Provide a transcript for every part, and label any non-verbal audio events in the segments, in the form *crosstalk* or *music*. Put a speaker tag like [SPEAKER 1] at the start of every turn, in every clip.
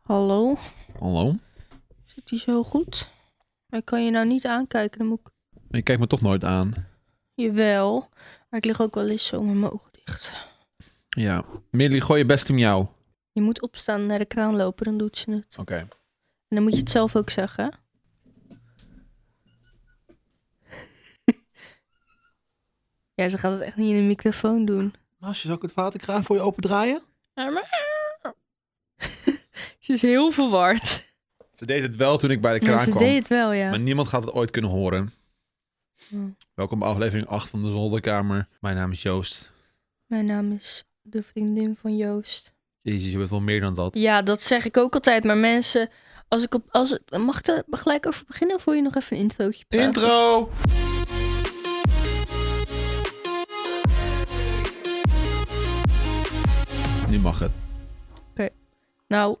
[SPEAKER 1] Hallo,
[SPEAKER 2] Hallo?
[SPEAKER 1] zit hij zo goed? Hij kan je nou niet aankijken, dan moet ik...
[SPEAKER 2] Je kijkt me toch nooit aan.
[SPEAKER 1] Jawel, maar ik lig ook wel eens zo met mijn ogen dicht.
[SPEAKER 2] Ja. Millie, gooi je beste miauw. Oké.
[SPEAKER 1] Je moet opstaan en naar de kraan lopen, dan doet ze het. En dan moet je het zelf ook zeggen. hè? *laughs* ja, ze gaat het echt niet in de microfoon doen.
[SPEAKER 2] Maasje, zal ik het waterkraan voor je opendraaien?
[SPEAKER 1] Ah, *laughs* ze is heel verward.
[SPEAKER 2] Ze deed het wel toen ik bij de
[SPEAKER 1] Ja,
[SPEAKER 2] kraan
[SPEAKER 1] ze
[SPEAKER 2] kwam.
[SPEAKER 1] deed het wel, ja.
[SPEAKER 2] Maar niemand gaat het ooit kunnen horen.
[SPEAKER 1] Hm.
[SPEAKER 2] Welkom bij aflevering 8 van de Zolderkamer. Mijn naam is Joost.
[SPEAKER 1] Mijn naam is de vriendin van Joost.
[SPEAKER 2] Jezus, je bent wel meer dan dat.
[SPEAKER 1] Ja, dat zeg ik ook altijd. Maar mensen, als ik op. Als, mag ik er gelijk over beginnen of wil je nog even een introotje praten?
[SPEAKER 2] Intro! Nu mag het.
[SPEAKER 1] Nou,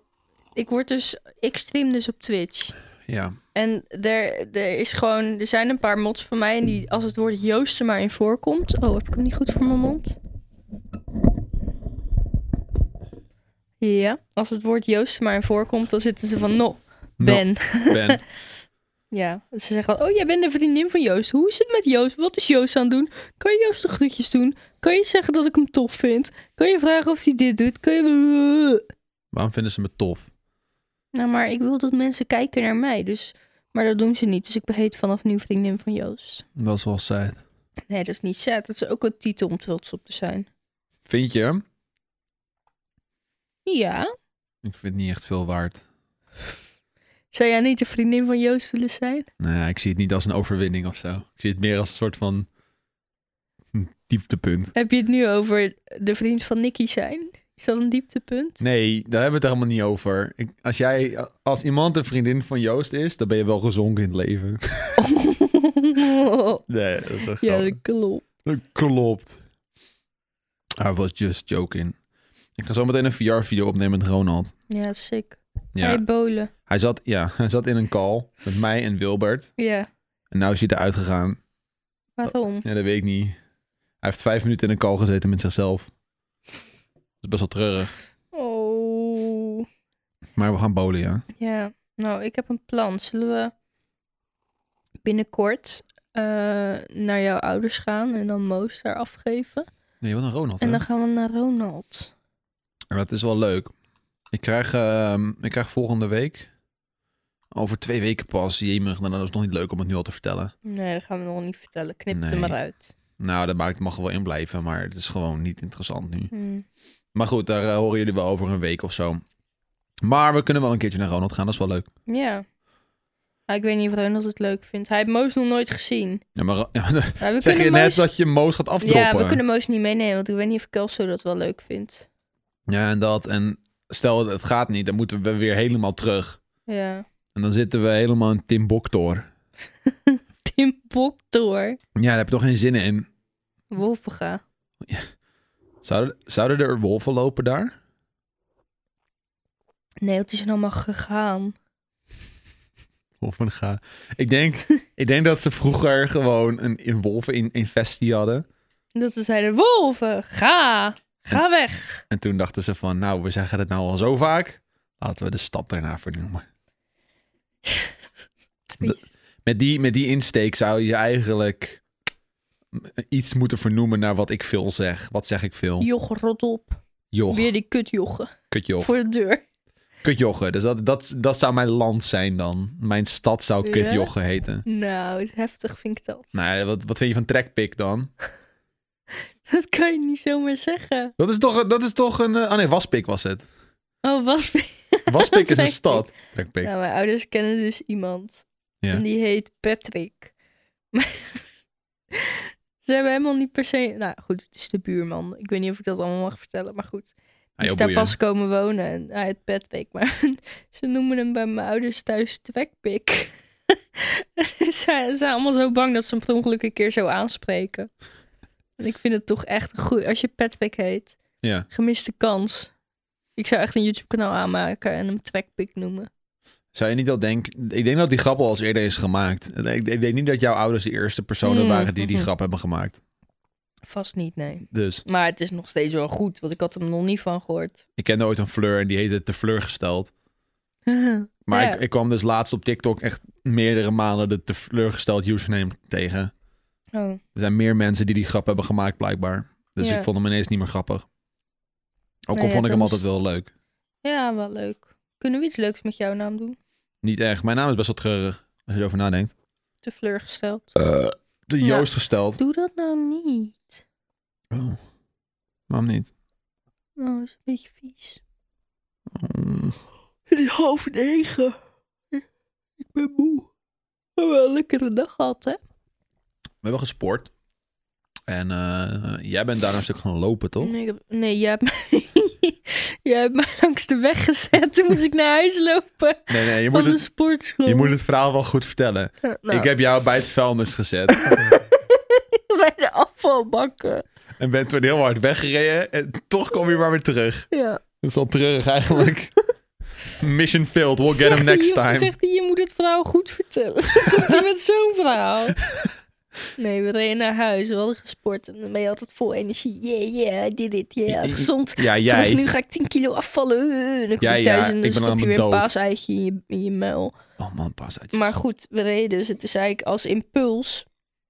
[SPEAKER 1] ik word dus. Ik stream dus op Twitch.
[SPEAKER 2] Ja.
[SPEAKER 1] En er, er is gewoon. Er zijn een paar mods van mij. En die, als het woord Joost er maar in voorkomt. Oh, heb ik hem niet goed voor mijn mond? Ja, als het woord Joost er maar in voorkomt, dan zitten ze van. No, Ben.
[SPEAKER 2] No, ben.
[SPEAKER 1] Ja, ze zeggen al, oh, jij bent de vriendin van Joost. Hoe is het met Joost? Wat is Joost aan het doen? Kan je Joost de groetjes doen? Kan je zeggen dat ik hem tof vind? Kan je vragen of hij dit doet? Kan je...
[SPEAKER 2] Waarom vinden ze me tof?
[SPEAKER 1] Nou, maar ik wil dat mensen kijken naar mij, dus... Maar dat doen ze niet, dus ik beheet vanaf nu vriendin van Joost.
[SPEAKER 2] Dat is wel saai.
[SPEAKER 1] Nee, dat is niet sad. Dat is ook een titel om trots op te zijn.
[SPEAKER 2] Vind je hem?
[SPEAKER 1] Ja.
[SPEAKER 2] Ik vind het niet echt veel waard.
[SPEAKER 1] Zou jij niet de vriendin van Joost willen zijn?
[SPEAKER 2] Nou, ik zie het niet als een overwinning of zo. Ik zie het meer als een soort van dieptepunt.
[SPEAKER 1] Heb je het nu over de vriend van Nicky zijn? Is dat een dieptepunt?
[SPEAKER 2] *laughs*
[SPEAKER 1] *laughs*
[SPEAKER 2] Nee, daar hebben we het helemaal niet over. Ik, als, jij, als iemand een vriendin van Joost is, dan ben je wel gezonken in het leven. *laughs* Nee, dat is echt
[SPEAKER 1] ja, dat klopt.
[SPEAKER 2] Dat klopt. I was just joking. Ik ga zo meteen een VR-video opnemen met Ronald.
[SPEAKER 1] Ja, sick.
[SPEAKER 2] Ja,
[SPEAKER 1] Hey, bolen.
[SPEAKER 2] hij, zat, ja, hij zat in een call met mij en Wilbert.
[SPEAKER 1] Ja.
[SPEAKER 2] En nou is hij eruit gegaan.
[SPEAKER 1] Waarom?
[SPEAKER 2] Ja, dat weet ik niet. Hij heeft vijf minuten in een call gezeten met zichzelf. Dat is best wel treurig.
[SPEAKER 1] Oh.
[SPEAKER 2] Maar we gaan bowlen, ja.
[SPEAKER 1] Ja, nou, ik heb een plan. Zullen we binnenkort eh, naar jouw ouders gaan en dan Moos daar afgeven?
[SPEAKER 2] Nee, wat een Ronald,
[SPEAKER 1] En dan gaan we naar Ronald.
[SPEAKER 2] Dat is wel leuk. Ik krijg, ehm, ik krijg volgende week... Over twee weken pas. Jemig, nou, dat is nog niet leuk om het nu al te vertellen.
[SPEAKER 1] Nee, dat gaan we nog niet vertellen. Knip het
[SPEAKER 2] Nee.
[SPEAKER 1] er maar uit.
[SPEAKER 2] Nou, dat maakt, mag er wel in blijven, maar het is gewoon niet interessant nu.
[SPEAKER 1] Hm.
[SPEAKER 2] Maar goed, daar eh, horen jullie wel over een week of zo. Maar we kunnen wel een keertje naar Ronald gaan, dat is wel leuk.
[SPEAKER 1] Ja. Maar ik weet niet of Ronald het leuk vindt. Hij heeft Moos nog nooit gezien.
[SPEAKER 2] Ja, *laughs* maar,
[SPEAKER 1] Maar we
[SPEAKER 2] zeg je
[SPEAKER 1] kunnen
[SPEAKER 2] net
[SPEAKER 1] Moos...
[SPEAKER 2] dat je Moos gaat afdroppen?
[SPEAKER 1] Ja, we kunnen Moos niet meenemen, want ik weet niet of Kelso dat wel leuk vindt.
[SPEAKER 2] ja, en dat. En stel, het gaat niet, dan moeten we weer helemaal terug.
[SPEAKER 1] Ja.
[SPEAKER 2] En dan zitten we helemaal in Timbuktor.
[SPEAKER 1] Tim Boktor.
[SPEAKER 2] Ja, daar heb je toch geen zin in?
[SPEAKER 1] Wolfega.
[SPEAKER 2] Zouden, zouden er wolven lopen daar?
[SPEAKER 1] Nee, het is allemaal gegaan.
[SPEAKER 2] Wolven gaan. Ik denk, *laughs* ik denk dat ze vroeger gewoon een, een wolven in, infestie hadden.
[SPEAKER 1] Dat ze zeiden, wolven, ga, ga weg.
[SPEAKER 2] En toen dachten ze van, nou, we zeggen het nou al zo vaak. Laten we de stad daarna vernoemen. Met die, met die insteek zou je eigenlijk iets moeten vernoemen naar wat ik veel zeg. Wat zeg ik veel?
[SPEAKER 1] Joch, rot op.
[SPEAKER 2] Joch,
[SPEAKER 1] Weer die kutjochen
[SPEAKER 2] kutjoch.
[SPEAKER 1] voor de deur.
[SPEAKER 2] Kutjochen. Dus dat, dat, dat zou mijn land zijn dan. Mijn stad zou
[SPEAKER 1] Ja?
[SPEAKER 2] kutjochen heten.
[SPEAKER 1] Nou, heftig vind ik dat.
[SPEAKER 2] Nou, wat, wat vind je van trekpik dan?
[SPEAKER 1] *laughs* Dat kan je niet zomaar zeggen.
[SPEAKER 2] Dat is toch, dat is toch een... eh, Oh nee, waspik was
[SPEAKER 1] *laughs*
[SPEAKER 2] het.
[SPEAKER 1] Oh,
[SPEAKER 2] *laughs*
[SPEAKER 1] was *laughs*
[SPEAKER 2] Waspik is een
[SPEAKER 1] Trekpik.
[SPEAKER 2] stad. Trekpik. Ah,
[SPEAKER 1] Nou, mijn ouders kennen dus iemand.
[SPEAKER 2] Ja.
[SPEAKER 1] En die heet Patrick. *laughs* Maar Ze hebben helemaal niet per se... Nou goed, het is de buurman. Ik weet niet of ik dat allemaal mag vertellen, maar goed.
[SPEAKER 2] Ah,
[SPEAKER 1] Die
[SPEAKER 2] joh,
[SPEAKER 1] is Dus daar
[SPEAKER 2] boeien.
[SPEAKER 1] pas komen wonen en hij heet Patrick. Maar *laughs* ze noemen hem bij mijn ouders thuis Trekpik. *laughs* ze zijn allemaal zo bang dat ze hem per ongeluk een keer zo aanspreken. En ik vind het toch echt goed. Als je Patrick heet,
[SPEAKER 2] Ja.
[SPEAKER 1] gemiste kans. Ik zou echt een YouTube kanaal aanmaken en hem Trekpik noemen.
[SPEAKER 2] Zou je niet dat denken... Ik denk dat die grap al eens eerder is gemaakt. Ik, ik denk niet dat jouw ouders de eerste personen
[SPEAKER 1] Hmm,
[SPEAKER 2] waren die die
[SPEAKER 1] mhm.
[SPEAKER 2] grap hebben gemaakt.
[SPEAKER 1] Vast niet, nee.
[SPEAKER 2] Dus
[SPEAKER 1] Maar het is *laughs* nog steeds wel goed, want ik had hem nog niet van gehoord.
[SPEAKER 2] ik kende ooit een fleur en die heette de fleur gesteld. Maar
[SPEAKER 1] Ja.
[SPEAKER 2] ik, ik kwam dus laatst op TikTok echt meerdere malen de teleurgesteld username tegen.
[SPEAKER 1] Oh.
[SPEAKER 2] Er zijn meer mensen die die grap hebben gemaakt, blijkbaar. Dus
[SPEAKER 1] Ja.
[SPEAKER 2] ik vond hem ineens niet meer grappig. Ook al
[SPEAKER 1] Nee, ja,
[SPEAKER 2] vond ik hem
[SPEAKER 1] dat is-
[SPEAKER 2] altijd wel leuk.
[SPEAKER 1] Ja, wel leuk. Kunnen we iets leuks met jouw naam doen?
[SPEAKER 2] Niet echt. Mijn naam is best wel treurig, als je erover nadenkt.
[SPEAKER 1] Te gesteld.
[SPEAKER 2] Eh, De
[SPEAKER 1] Ja.
[SPEAKER 2] Joost gesteld.
[SPEAKER 1] Doe dat nou niet.
[SPEAKER 2] Oh. Waarom niet?
[SPEAKER 1] Oh, is een beetje vies.
[SPEAKER 2] Oh.
[SPEAKER 1] Het is half negen. Ik ben moe. Maar wel een lekkere dag gehad, hè?
[SPEAKER 2] We hebben gesport. En eh, jij bent daar een stuk gaan lopen, toch?
[SPEAKER 1] Nee, ik heb- nee, jij hebt mij... *laughs* jij hebt mij langs de weg gezet. Toen moest ik naar huis lopen.
[SPEAKER 2] Nee, nee, je
[SPEAKER 1] van
[SPEAKER 2] moet,
[SPEAKER 1] de
[SPEAKER 2] het,
[SPEAKER 1] sportschool.
[SPEAKER 2] je moet het verhaal wel goed vertellen.
[SPEAKER 1] Eh, nou,
[SPEAKER 2] Ik heb jou bij het vuilnis gezet.
[SPEAKER 1] *laughs* Bij de afvalbakken.
[SPEAKER 2] en ben toen heel hard weggereden. En toch kom je maar weer terug.
[SPEAKER 1] Ja.
[SPEAKER 2] Dat is wel treurig
[SPEAKER 1] *laughs*
[SPEAKER 2] eigenlijk. Mission failed. We'll get him
[SPEAKER 1] Zegt hij,
[SPEAKER 2] next
[SPEAKER 1] je-
[SPEAKER 2] time.
[SPEAKER 1] Zegt hij, je moet het verhaal goed vertellen. *laughs* Komt
[SPEAKER 2] *laughs*
[SPEAKER 1] hij met zo'n verhaal? Nee, we reden naar huis. We hadden gesport. En dan ben je altijd vol energie. Yeah, yeah, I did it.
[SPEAKER 2] I-
[SPEAKER 1] Yeah,
[SPEAKER 2] I-
[SPEAKER 1] gezond.
[SPEAKER 2] Ja,
[SPEAKER 1] Vanaf
[SPEAKER 2] jij.
[SPEAKER 1] nu ga ik 10 kilo afvallen. Eh, En dan kom
[SPEAKER 2] Ja,
[SPEAKER 1] je
[SPEAKER 2] ja,
[SPEAKER 1] thuis en
[SPEAKER 2] ik ben
[SPEAKER 1] dan stop je
[SPEAKER 2] allemaal
[SPEAKER 1] weer een
[SPEAKER 2] dood.
[SPEAKER 1] paaseitje in je, in je muil.
[SPEAKER 2] Oh man, pas uit.
[SPEAKER 1] Maar goed, we reden dus. Het is eigenlijk als impuls.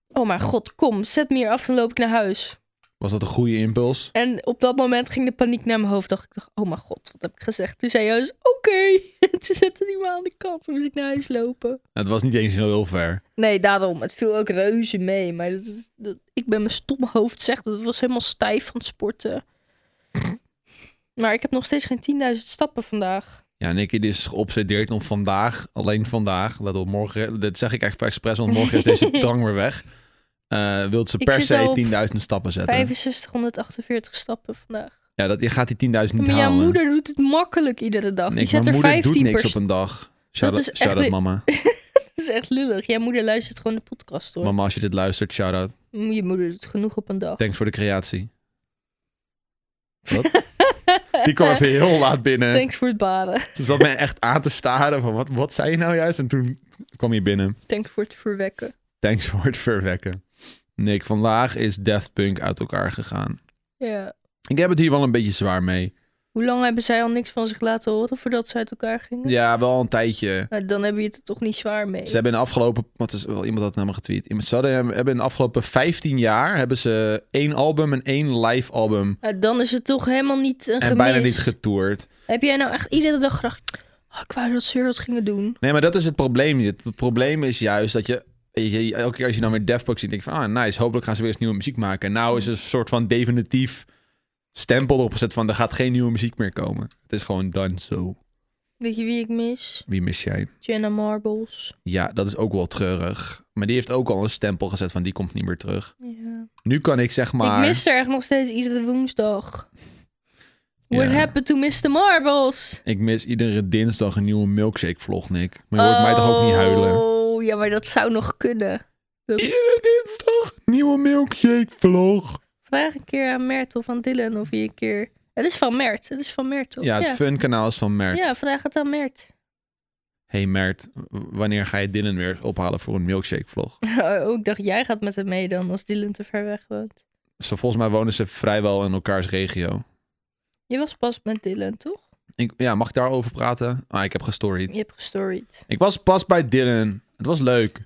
[SPEAKER 1] Oh mijn god, kom, zet me hier af, dan loop ik naar huis.
[SPEAKER 2] Was dat een goede impuls?
[SPEAKER 1] En op dat moment ging de paniek naar mijn hoofd. Dacht ik, dacht, oh mijn god, wat heb ik gezegd? Toen zei Joost, oké. *laughs* Toen zette hij me aan de kant. Toen moest ik naar huis lopen.
[SPEAKER 2] Het was niet eens heel, heel ver.
[SPEAKER 1] Nee, daarom. Het viel ook reuze mee. Maar dat, is- dat, ik ben mijn stom hoofd zegt. Dat het was helemaal stijf van het sporten. Maar ik heb nog steeds geen 10.000 stappen vandaag.
[SPEAKER 2] Ja, Nicky die is geobsedeerd om vandaag, alleen vandaag, let op morgen, dat zeg ik echt per expres, want morgen is deze *laughs* drang weer weg. Eh wilt ze
[SPEAKER 1] Ik
[SPEAKER 2] per
[SPEAKER 1] zit al op
[SPEAKER 2] se 10.000 stappen zetten.
[SPEAKER 1] 6548 stappen vandaag.
[SPEAKER 2] Ja, dat, je gaat die 10.000 niet
[SPEAKER 1] Maar jouw
[SPEAKER 2] halen.
[SPEAKER 1] moeder doet het makkelijk iedere dag.
[SPEAKER 2] Nee,
[SPEAKER 1] Die zet er
[SPEAKER 2] mijn moeder
[SPEAKER 1] 15
[SPEAKER 2] doet niks
[SPEAKER 1] per
[SPEAKER 2] op een dag. Shout-out
[SPEAKER 1] is echt
[SPEAKER 2] shout-out,
[SPEAKER 1] de-
[SPEAKER 2] mama.
[SPEAKER 1] *laughs* Dat is echt lullig. Jij moeder luistert gewoon de podcast hoor. Mm,
[SPEAKER 2] Mama, als je dit luistert, shout-out.
[SPEAKER 1] Je moeder doet genoeg op een dag.
[SPEAKER 2] Thanks voor de *laughs* creatie. Wat? Die kwam even heel laat binnen.
[SPEAKER 1] Thanks voor het baren.
[SPEAKER 2] Ze zat mij echt aan te staren van, wat, wat zei je nou juist? En toen kwam je binnen.
[SPEAKER 1] *laughs* Thanks voor het verwekken.
[SPEAKER 2] Thanks voor het verwekken. Nick, vandaag is Daft Punk uit elkaar gegaan.
[SPEAKER 1] Ja.
[SPEAKER 2] Ik heb het hier wel een beetje zwaar mee.
[SPEAKER 1] Hoe lang hebben zij al niks van zich laten horen voordat ze uit elkaar gingen?
[SPEAKER 2] Ja, wel een tijdje.
[SPEAKER 1] Nou, dan heb je het er toch niet zwaar mee.
[SPEAKER 2] Ze hebben in de afgelopen... Wat is wel iemand had het naar me getweet. Iemand- Ze hadden- hebben in de afgelopen 15 jaar... hebben ze één album en één live album...
[SPEAKER 1] Nou, dan is het toch helemaal niet een
[SPEAKER 2] en
[SPEAKER 1] gemis.
[SPEAKER 2] bijna niet getoerd.
[SPEAKER 1] Heb jij nou echt iedere dag gedacht... Oh, ik wou dat ze weer dat gingen doen.
[SPEAKER 2] Nee, maar dat is het probleem niet. Het probleem is juist dat je... weet je, elke keer als je dan weer Daft Punk ziet... denk je van... Ah, nice. Hopelijk gaan ze weer eens nieuwe muziek maken. En nou
[SPEAKER 1] Mm.
[SPEAKER 2] is er een soort van definitief... stempel erop gezet van... Er gaat geen nieuwe muziek meer komen. Het is gewoon done zo.
[SPEAKER 1] Weet je wie ik mis?
[SPEAKER 2] Wie mis jij?
[SPEAKER 1] Jenna Marbles.
[SPEAKER 2] Ja, dat is ook wel treurig. Maar die heeft ook al een stempel gezet van die komt niet meer terug.
[SPEAKER 1] Ja.
[SPEAKER 2] Nu kan ik zeg maar...
[SPEAKER 1] Ik mis haar echt nog steeds iedere woensdag. What
[SPEAKER 2] Ja.
[SPEAKER 1] happened to Mr. Marbles?
[SPEAKER 2] Ik mis iedere dinsdag een nieuwe milkshake vlog, Nick. Maar je hoort mij toch ook niet huilen?
[SPEAKER 1] Oh, ja, maar dat zou nog kunnen.
[SPEAKER 2] Iedere dinsdag nieuwe milkshake vlog.
[SPEAKER 1] Vraag een keer aan Mertel van Dylan of hij een keer... Het is van Mert, het is van Mert, toch?
[SPEAKER 2] Ja, het fun kanaal is van Mert.
[SPEAKER 1] Ja, vraag het aan Mert. *laughs*
[SPEAKER 2] Hey Mert, w- wanneer ga je Dylan weer ophalen voor een milkshake vlog?
[SPEAKER 1] Oh, ik dacht, jij gaat met hem mee dan, als Dylan te ver weg woont.
[SPEAKER 2] Zo, Dus volgens mij wonen ze vrijwel in elkaars regio.
[SPEAKER 1] Je was pas met Dylan, toch?
[SPEAKER 2] Ik, ja, mag ik daarover praten? Ah, ik heb gestoried.
[SPEAKER 1] Je hebt gestoried.
[SPEAKER 2] Ik was pas bij Dylan. Het was leuk.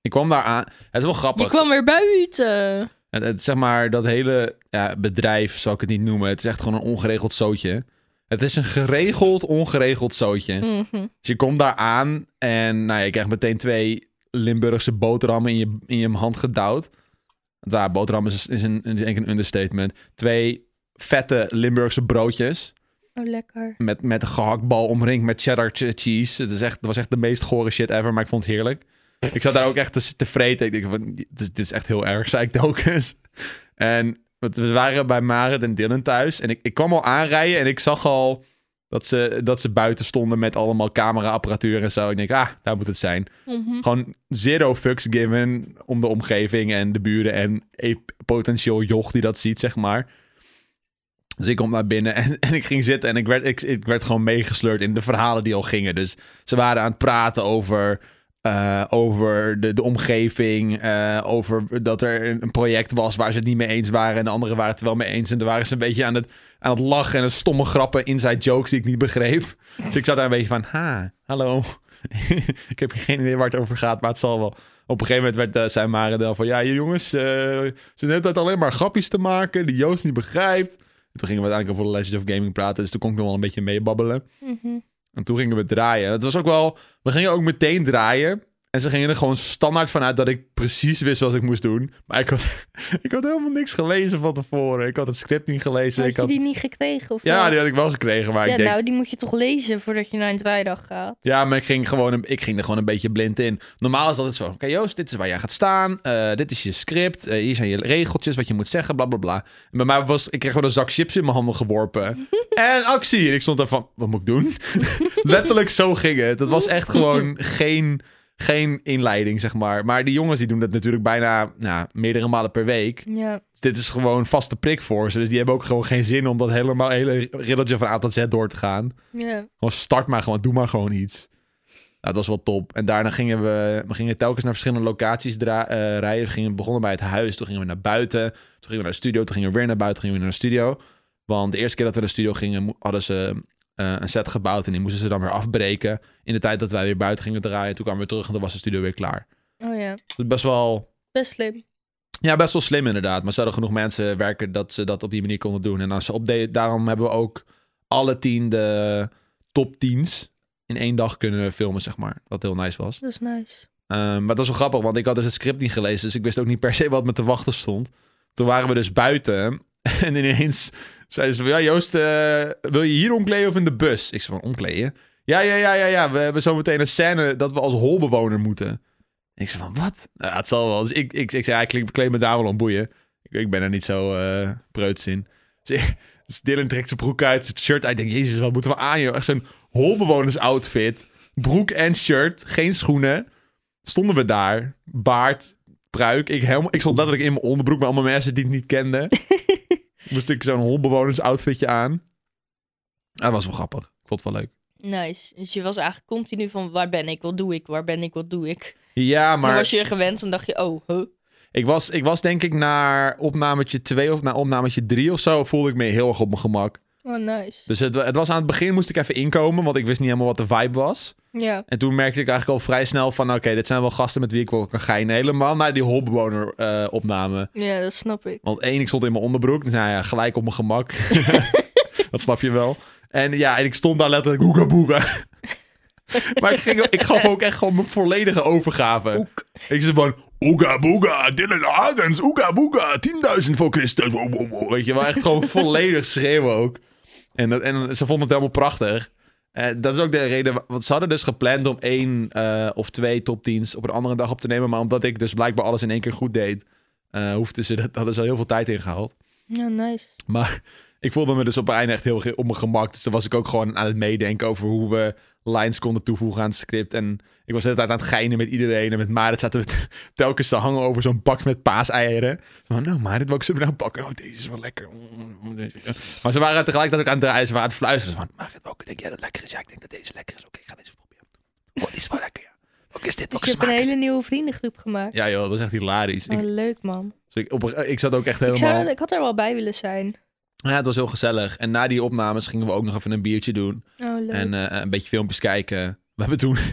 [SPEAKER 2] Ik kwam daar aan. Het is wel grappig.
[SPEAKER 1] Je kwam weer buiten.
[SPEAKER 2] Het, het- zeg maar, dat hele ja, bedrijf, zal ik het niet noemen. Het is echt gewoon een ongeregeld zootje. Het is een geregeld, ongeregeld zootje.
[SPEAKER 1] Mhm.
[SPEAKER 2] Dus je komt daar aan en nou, ja, je krijgt meteen twee Limburgse boterhammen in je, in je hand gedouwd. Want Daar, boterham is, is, een, is denk ik een understatement. Twee vette Limburgse broodjes
[SPEAKER 1] Oh, lekker.
[SPEAKER 2] met, met een gehaktbal omringd met cheddar che- cheese. Het, is echt, het was echt de meest gore shit ever, maar ik vond het heerlijk. Ik zat daar ook echt te, te vreten. Ik dacht, van, dit, is, dit is echt heel erg, zei ik telkens. En want we waren bij Marit en Dylan thuis. En ik, ik kwam al aanrijden en ik zag al dat ze, dat ze buiten stonden met allemaal cameraapparatuur en zo. Ik denk, ah, daar moet het zijn.
[SPEAKER 1] Mhm.
[SPEAKER 2] Gewoon zero fucks given om de omgeving en de buren en een potentieel joch die dat ziet, zeg maar. Dus ik kom naar binnen en, *laughs* en ik ging zitten en ik werd, ik, ik werd gewoon meegesleurd in de verhalen die al gingen. Dus ze waren aan het praten over, eh, over de, de omgeving, eh, over dat er een, een project was waar ze het niet mee eens waren en de anderen waren het er wel mee eens. En daar waren ze een beetje aan het aan het lachen en de stomme grappen, inside jokes die ik niet begreep. Dus ik zat daar een beetje van, ha, hallo. ik heb geen idee waar het over gaat, maar het zal wel. Op een gegeven moment werd, eh, zei Marendel van, ja hier, jongens, eh, ze zijn net tijd alleen maar grapjes te maken die Joost niet begrijpt. En toen gingen we uiteindelijk over The Legend of Gaming praten, dus toen kon ik nog wel een beetje meebabbelen.
[SPEAKER 1] Mhm.
[SPEAKER 2] En toen gingen we draaien. Het was ook wel, we gingen ook meteen draaien. En ze gingen er gewoon standaard vanuit dat ik precies wist wat ik moest doen. Maar ik had, *laughs* ik had helemaal niks gelezen van tevoren. Ik had het script niet gelezen.
[SPEAKER 1] Had
[SPEAKER 2] ik
[SPEAKER 1] je
[SPEAKER 2] had,
[SPEAKER 1] die niet gekregen? Of
[SPEAKER 2] Ja,
[SPEAKER 1] wel?
[SPEAKER 2] die had ik wel gekregen. Maar
[SPEAKER 1] ja
[SPEAKER 2] ik denk,
[SPEAKER 1] nou, die moet je toch lezen voordat je naar een draaidag gaat.
[SPEAKER 2] Ja, maar ik ging, gewoon een- ik ging er gewoon een beetje blind in. Normaal is dat het zo. Oké, Joost, dit is waar jij gaat staan. Eh, dit is je script. Eh, hier zijn je regeltjes, wat je moet zeggen, bla bla bla. En bij mij was, ik kreeg gewoon een zak chips in mijn handen geworpen. en actie. En ik stond daar van, wat moet ik doen? Letterlijk zo ging het. Dat was echt gewoon geen, geen inleiding, zeg maar. Maar die jongens die doen dat natuurlijk bijna nou, meerdere malen per week.
[SPEAKER 1] Ja.
[SPEAKER 2] Dit is gewoon vaste prik voor ze. Dus die hebben ook gewoon geen zin om dat helemaal hele riddeltje van A tot Z door te gaan.
[SPEAKER 1] ja.
[SPEAKER 2] Gewoon start maar gewoon, doe maar gewoon iets. Nou, dat was wel top. En daarna gingen we, we gingen telkens naar verschillende locaties dra- eh, rijden. We gingen, begonnen bij het huis, toen gingen we naar buiten. Toen gingen we naar de studio, toen gingen we weer naar buiten, toen gingen we weer naar de studio. Want de eerste keer dat we naar de studio gingen, mo- hadden ze eh, een set gebouwd. En die moesten ze dan weer afbreken. In de tijd dat wij weer buiten gingen draaien, toen kwamen we terug en toen was de studio weer klaar.
[SPEAKER 1] Oh ja.
[SPEAKER 2] Dus best wel,
[SPEAKER 1] Best slim.
[SPEAKER 2] ja, best wel slim inderdaad. Maar ze hadden genoeg mensen werken dat ze dat op die manier konden doen. En als ze opdate, daarom hebben we ook alle tien de top teams in één dag kunnen filmen, zeg maar. Wat heel nice was.
[SPEAKER 1] Dat is nice.
[SPEAKER 2] Ehm, maar het was wel grappig, want ik had dus het script niet gelezen. Dus ik wist ook niet per se wat me te wachten stond. Toen waren we dus buiten. *laughs* En ineens zeiden ze van... Ja, Joost, eh, wil je hier omkleden of in de bus? Ik zei van, omkleden? Ja, ja, ja, ja, ja. We hebben zometeen een scène dat we als holbewoner moeten. En ik zei van, wat? Nou, ja, het zal wel. Dus ik, ik, ik zei, ja, ik kleed- kleed me daar wel om boeien. Ik, ik ben er niet zo eh preuts in. *laughs* Dus, ik- dus Dylan trekt zijn broek uit, zijn shirt uit. Ik denk, jezus, wat moeten we aan, joh? Echt zo'n holbewoners outfit. Broek en shirt, geen schoenen stonden we daar, baard, pruik. Ik, helemaal, ik stond letterlijk in mijn onderbroek met allemaal mensen die ik niet
[SPEAKER 1] *laughs*
[SPEAKER 2] kende. Moest ik zo'n holbewoners outfitje aan. Dat was wel grappig. Ik vond het wel leuk.
[SPEAKER 1] Nice. Dus je was eigenlijk continu van waar ben ik, wat doe ik, waar ben ik, wat doe ik.
[SPEAKER 2] Ja,
[SPEAKER 1] Maar... Dan
[SPEAKER 2] maar
[SPEAKER 1] was je er gewend en dacht je, oh, huh.
[SPEAKER 2] ik, was, ik was denk ik naar opnametje 2 of naar opnametje 3 of zo voelde ik me heel erg op mijn gemak.
[SPEAKER 1] Oh, nice.
[SPEAKER 2] Dus het, het was aan het begin moest ik even inkomen, want ik wist niet helemaal wat de vibe was.
[SPEAKER 1] Ja.
[SPEAKER 2] En toen merkte ik eigenlijk al vrij snel van, oké, dit zijn wel gasten met wie ik wel kan geinen. Helemaal naar die holbewoner eh, opname.
[SPEAKER 1] Ja, dat snap ik.
[SPEAKER 2] Want één, ik stond in mijn onderbroek. Dus nou ja, gelijk op mijn gemak. dat snap je wel. En ja, en ik stond daar letterlijk hoega boega. maar ik, ging, ik gaf ook echt gewoon mijn volledige overgave. Ik zei gewoon, oega boega, Dylan Hagens, oega boega, 10.000 voor Christus. Wow, wow, wow. Weet je wel, echt gewoon *laughs* volledig schreeuwen ook. En, dat, en ze vonden het helemaal prachtig. Eh, dat is ook de reden, wa- want ze hadden dus gepland om één eh, of twee top 10's op een andere dag op te nemen. Maar omdat ik dus blijkbaar alles in één keer goed deed, eh hoefden ze, dat hadden ze al heel veel tijd ingehaald.
[SPEAKER 1] Ja, nice.
[SPEAKER 2] Maar ik voelde me dus op het einde echt heel ge- op mijn gemak. Dus dan was ik ook gewoon aan het meedenken over hoe we lines konden toevoegen aan het script. En ik was de hele tijd aan het geinen met iedereen. En met Marit zaten we *laughs* t- telkens te hangen over zo'n bak met paaseieren. Van, nou Marit, welke zullen we nou pakken? Oh, deze is wel lekker. Mm, deze- ja. Maar ze waren tegelijkertijd ook aan het draaien. Ze waren aan het fluisteren. Van, Marit, welke denk jij dat lekker is? Ja, ik denk dat deze lekker is. Oké, ik ga deze proberen. Oh, die is wel lekker, ja. Welke is dit?
[SPEAKER 1] Dus
[SPEAKER 2] Welke
[SPEAKER 1] je hebt een
[SPEAKER 2] smaak is
[SPEAKER 1] hele
[SPEAKER 2] dit?
[SPEAKER 1] nieuwe vriendengroep gemaakt.
[SPEAKER 2] Ja joh, dat was echt hilarisch.
[SPEAKER 1] Oh,
[SPEAKER 2] Ik,
[SPEAKER 1] leuk, man.
[SPEAKER 2] dus ik, op, een- ik zat ook echt
[SPEAKER 1] Ik,
[SPEAKER 2] helemaal...
[SPEAKER 1] zou, ik had er wel bij willen zijn.
[SPEAKER 2] Ja, het was heel gezellig. En na die opnames gingen we ook nog even een biertje doen.
[SPEAKER 1] Oh, leuk.
[SPEAKER 2] En eh, een beetje filmpjes kijken. We hebben toen... *laughs*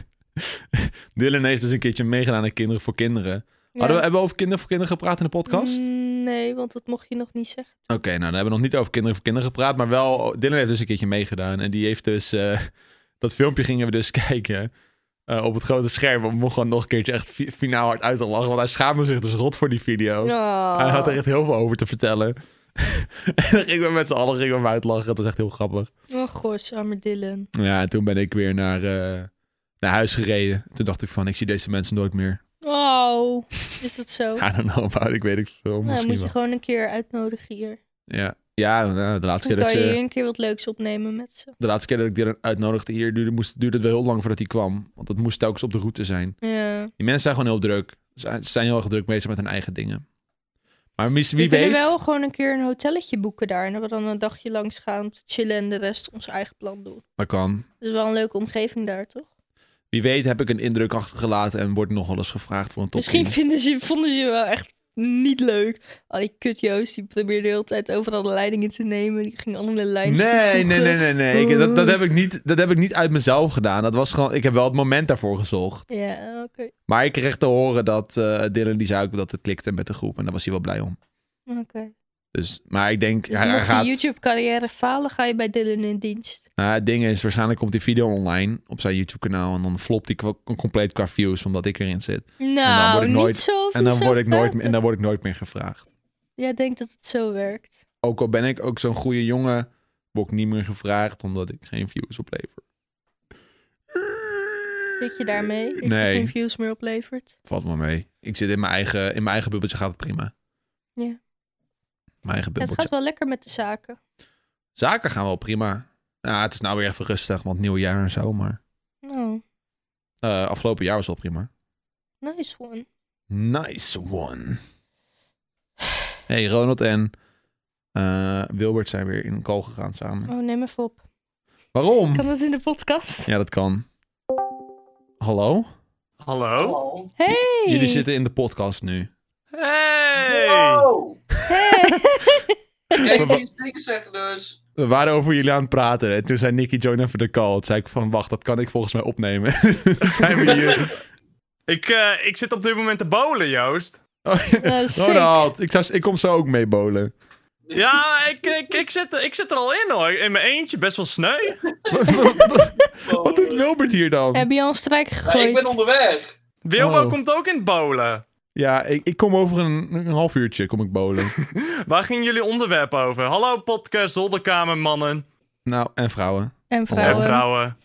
[SPEAKER 2] Dylan heeft dus een keertje meegedaan aan Kinderen voor Kinderen.
[SPEAKER 1] Ja.
[SPEAKER 2] Hadden we, hebben we over Kinderen voor Kinderen gepraat in de podcast?
[SPEAKER 1] Mm, Nee, want dat mocht je nog niet zeggen.
[SPEAKER 2] Oké, nou, dan hebben we nog niet over Kinderen voor Kinderen gepraat. Maar wel, Dylan heeft dus een keertje meegedaan. En die heeft dus... eh, *laughs* dat filmpje gingen we dus *laughs* kijken eh, op het grote scherm. We mochten gewoon nog een keertje echt fi- finaal hard uit te lachen. Want hij schaamde zich dus rot voor die video.
[SPEAKER 1] Oh.
[SPEAKER 2] Hij had er echt heel veel over te vertellen. *laughs* en dan gingen we met z'n allen gingen we hem uitlachen. Dat was echt heel grappig.
[SPEAKER 1] Oh, gosh, arme Dylan.
[SPEAKER 2] Ja, en toen ben ik weer naar, eh, naar huis gereden. Toen dacht ik van, ik zie deze mensen nooit meer.
[SPEAKER 1] Oh, is dat zo?
[SPEAKER 2] I don't know about, ik weet het veel,
[SPEAKER 1] nou,
[SPEAKER 2] misschien
[SPEAKER 1] moet je
[SPEAKER 2] wel.
[SPEAKER 1] gewoon een keer uitnodigen hier.
[SPEAKER 2] Ja, ja nou, de, laatste
[SPEAKER 1] Dan
[SPEAKER 2] keer dat
[SPEAKER 1] kan
[SPEAKER 2] ik
[SPEAKER 1] je
[SPEAKER 2] ze-
[SPEAKER 1] hier een keer wat leuks opnemen met ze.
[SPEAKER 2] de laatste keer dat ik die uitnodigde hier, duurde, moest, duurde het wel heel lang voordat hij kwam. Want het moest telkens op de route zijn.
[SPEAKER 1] Ja.
[SPEAKER 2] Die mensen zijn gewoon heel druk. Ze ze zijn heel erg druk bezig met hun eigen dingen. Maar mis- wie
[SPEAKER 1] we kunnen
[SPEAKER 2] weet...
[SPEAKER 1] wel gewoon een keer een hotelletje boeken daar. En dat we dan een dagje langs gaan om te chillen en de rest ons eigen plan doen.
[SPEAKER 2] Dat kan.
[SPEAKER 1] Dat is wel een leuke omgeving daar, toch?
[SPEAKER 2] Wie weet heb ik een indruk achtergelaten en wordt nog wel eens gevraagd voor een top
[SPEAKER 1] Misschien
[SPEAKER 2] 10.
[SPEAKER 1] vinden ze, vonden ze je wel echt niet leuk. Al die kut Joost, die probeerde de hele tijd overal de leidingen te nemen. Die ging andere lijntjes
[SPEAKER 2] Nee, nee,
[SPEAKER 1] toevoegen.
[SPEAKER 2] nee, nee, nee.
[SPEAKER 1] *laughs*
[SPEAKER 2] Ik, dat, dat, heb ik niet, dat heb ik niet uit mezelf gedaan. Dat was gewoon, ik heb wel het moment daarvoor gezocht.
[SPEAKER 1] Ja, oké.
[SPEAKER 2] Maar ik kreeg te horen dat eh Dylan die zei ook dat het klikte met de groep. En daar was hij wel blij om.
[SPEAKER 1] oké.
[SPEAKER 2] Dus, maar ik denk,
[SPEAKER 1] Dus
[SPEAKER 2] hij, hij
[SPEAKER 1] mocht
[SPEAKER 2] gaat...
[SPEAKER 1] je YouTube-carrière falen, ga je bij Dylan in dienst.
[SPEAKER 2] Nou, het ding is, waarschijnlijk komt die video online op zijn YouTube-kanaal. En dan flopt die kwa- compleet qua views, omdat ik erin zit.
[SPEAKER 1] Nou,
[SPEAKER 2] word ik nooit-
[SPEAKER 1] niet zo over
[SPEAKER 2] En dan,
[SPEAKER 1] jezelf
[SPEAKER 2] word ik nooit,
[SPEAKER 1] praten.
[SPEAKER 2] en dan word ik nooit meer gevraagd.
[SPEAKER 1] Jij denkt dat het zo werkt.
[SPEAKER 2] Ook al ben ik ook zo'n goede jongen, word ik niet meer gevraagd, omdat ik geen views oplever.
[SPEAKER 1] Zit je daarmee? Dat
[SPEAKER 2] Nee.
[SPEAKER 1] je geen views meer oplevert?
[SPEAKER 2] Valt wel mee. Ik zit in mijn eigen, in mijn eigen bubbeltje, gaat het prima.
[SPEAKER 1] Ja.
[SPEAKER 2] Mijn eigen
[SPEAKER 1] Ja, het
[SPEAKER 2] bubbeltje.
[SPEAKER 1] gaat wel lekker met de zaken.
[SPEAKER 2] Zaken gaan wel prima. Nou, het is nou weer even rustig, want nieuw jaar en zo, maar...
[SPEAKER 1] Nou,
[SPEAKER 2] eh, afgelopen jaar was wel prima.
[SPEAKER 1] nice one.
[SPEAKER 2] Nice one. Hey, Ronald en eh, Wilbert zijn weer in een call gegaan samen.
[SPEAKER 1] Oh, neem even op.
[SPEAKER 2] Waarom?
[SPEAKER 1] Kan dat in de podcast?
[SPEAKER 2] Ja, dat kan. Hallo?
[SPEAKER 3] Hallo?
[SPEAKER 1] Hey!
[SPEAKER 2] Jullie zitten in de podcast nu.
[SPEAKER 3] Hey!
[SPEAKER 4] Oh!
[SPEAKER 1] Hey! *laughs*
[SPEAKER 4] Kijk,
[SPEAKER 2] wa-
[SPEAKER 4] die dingen zeggen dus.
[SPEAKER 2] We waren over jullie aan het praten en toen zei Nicky join even de call. Toen zei ik van, wacht, dat kan ik volgens mij opnemen. *laughs* Toen zijn we hier.
[SPEAKER 3] Ik, eh, ik zit op dit moment te bowlen, Joost.
[SPEAKER 2] Oh,
[SPEAKER 1] Nou, sick.
[SPEAKER 2] Ronald, ik, zou, ik kom zo ook mee bowlen.
[SPEAKER 3] Ja, ik, ik, ik, zit, er- ik zit er al in hoor. In mijn eentje, best wel sneu.
[SPEAKER 2] Wat- wat- wat- *laughs* Wat
[SPEAKER 4] Oh,
[SPEAKER 2] doet Wilbert hier dan?
[SPEAKER 1] Heb je al een strijk
[SPEAKER 4] ja,
[SPEAKER 1] gegooid?
[SPEAKER 4] ik ben onderweg.
[SPEAKER 3] Wilbo
[SPEAKER 2] Oh.
[SPEAKER 3] komt ook in het bowlen.
[SPEAKER 2] Ja, ik, ik kom over een, een half uurtje kom ik
[SPEAKER 1] *laughs*
[SPEAKER 2] bowlen.
[SPEAKER 3] Waar gingen jullie onderwerp over? Hallo podcast, zolderkamer, mannen
[SPEAKER 2] Nou, en vrouwen.
[SPEAKER 1] En
[SPEAKER 2] Vrouwen.
[SPEAKER 1] vrouwen.
[SPEAKER 3] en vrouwen.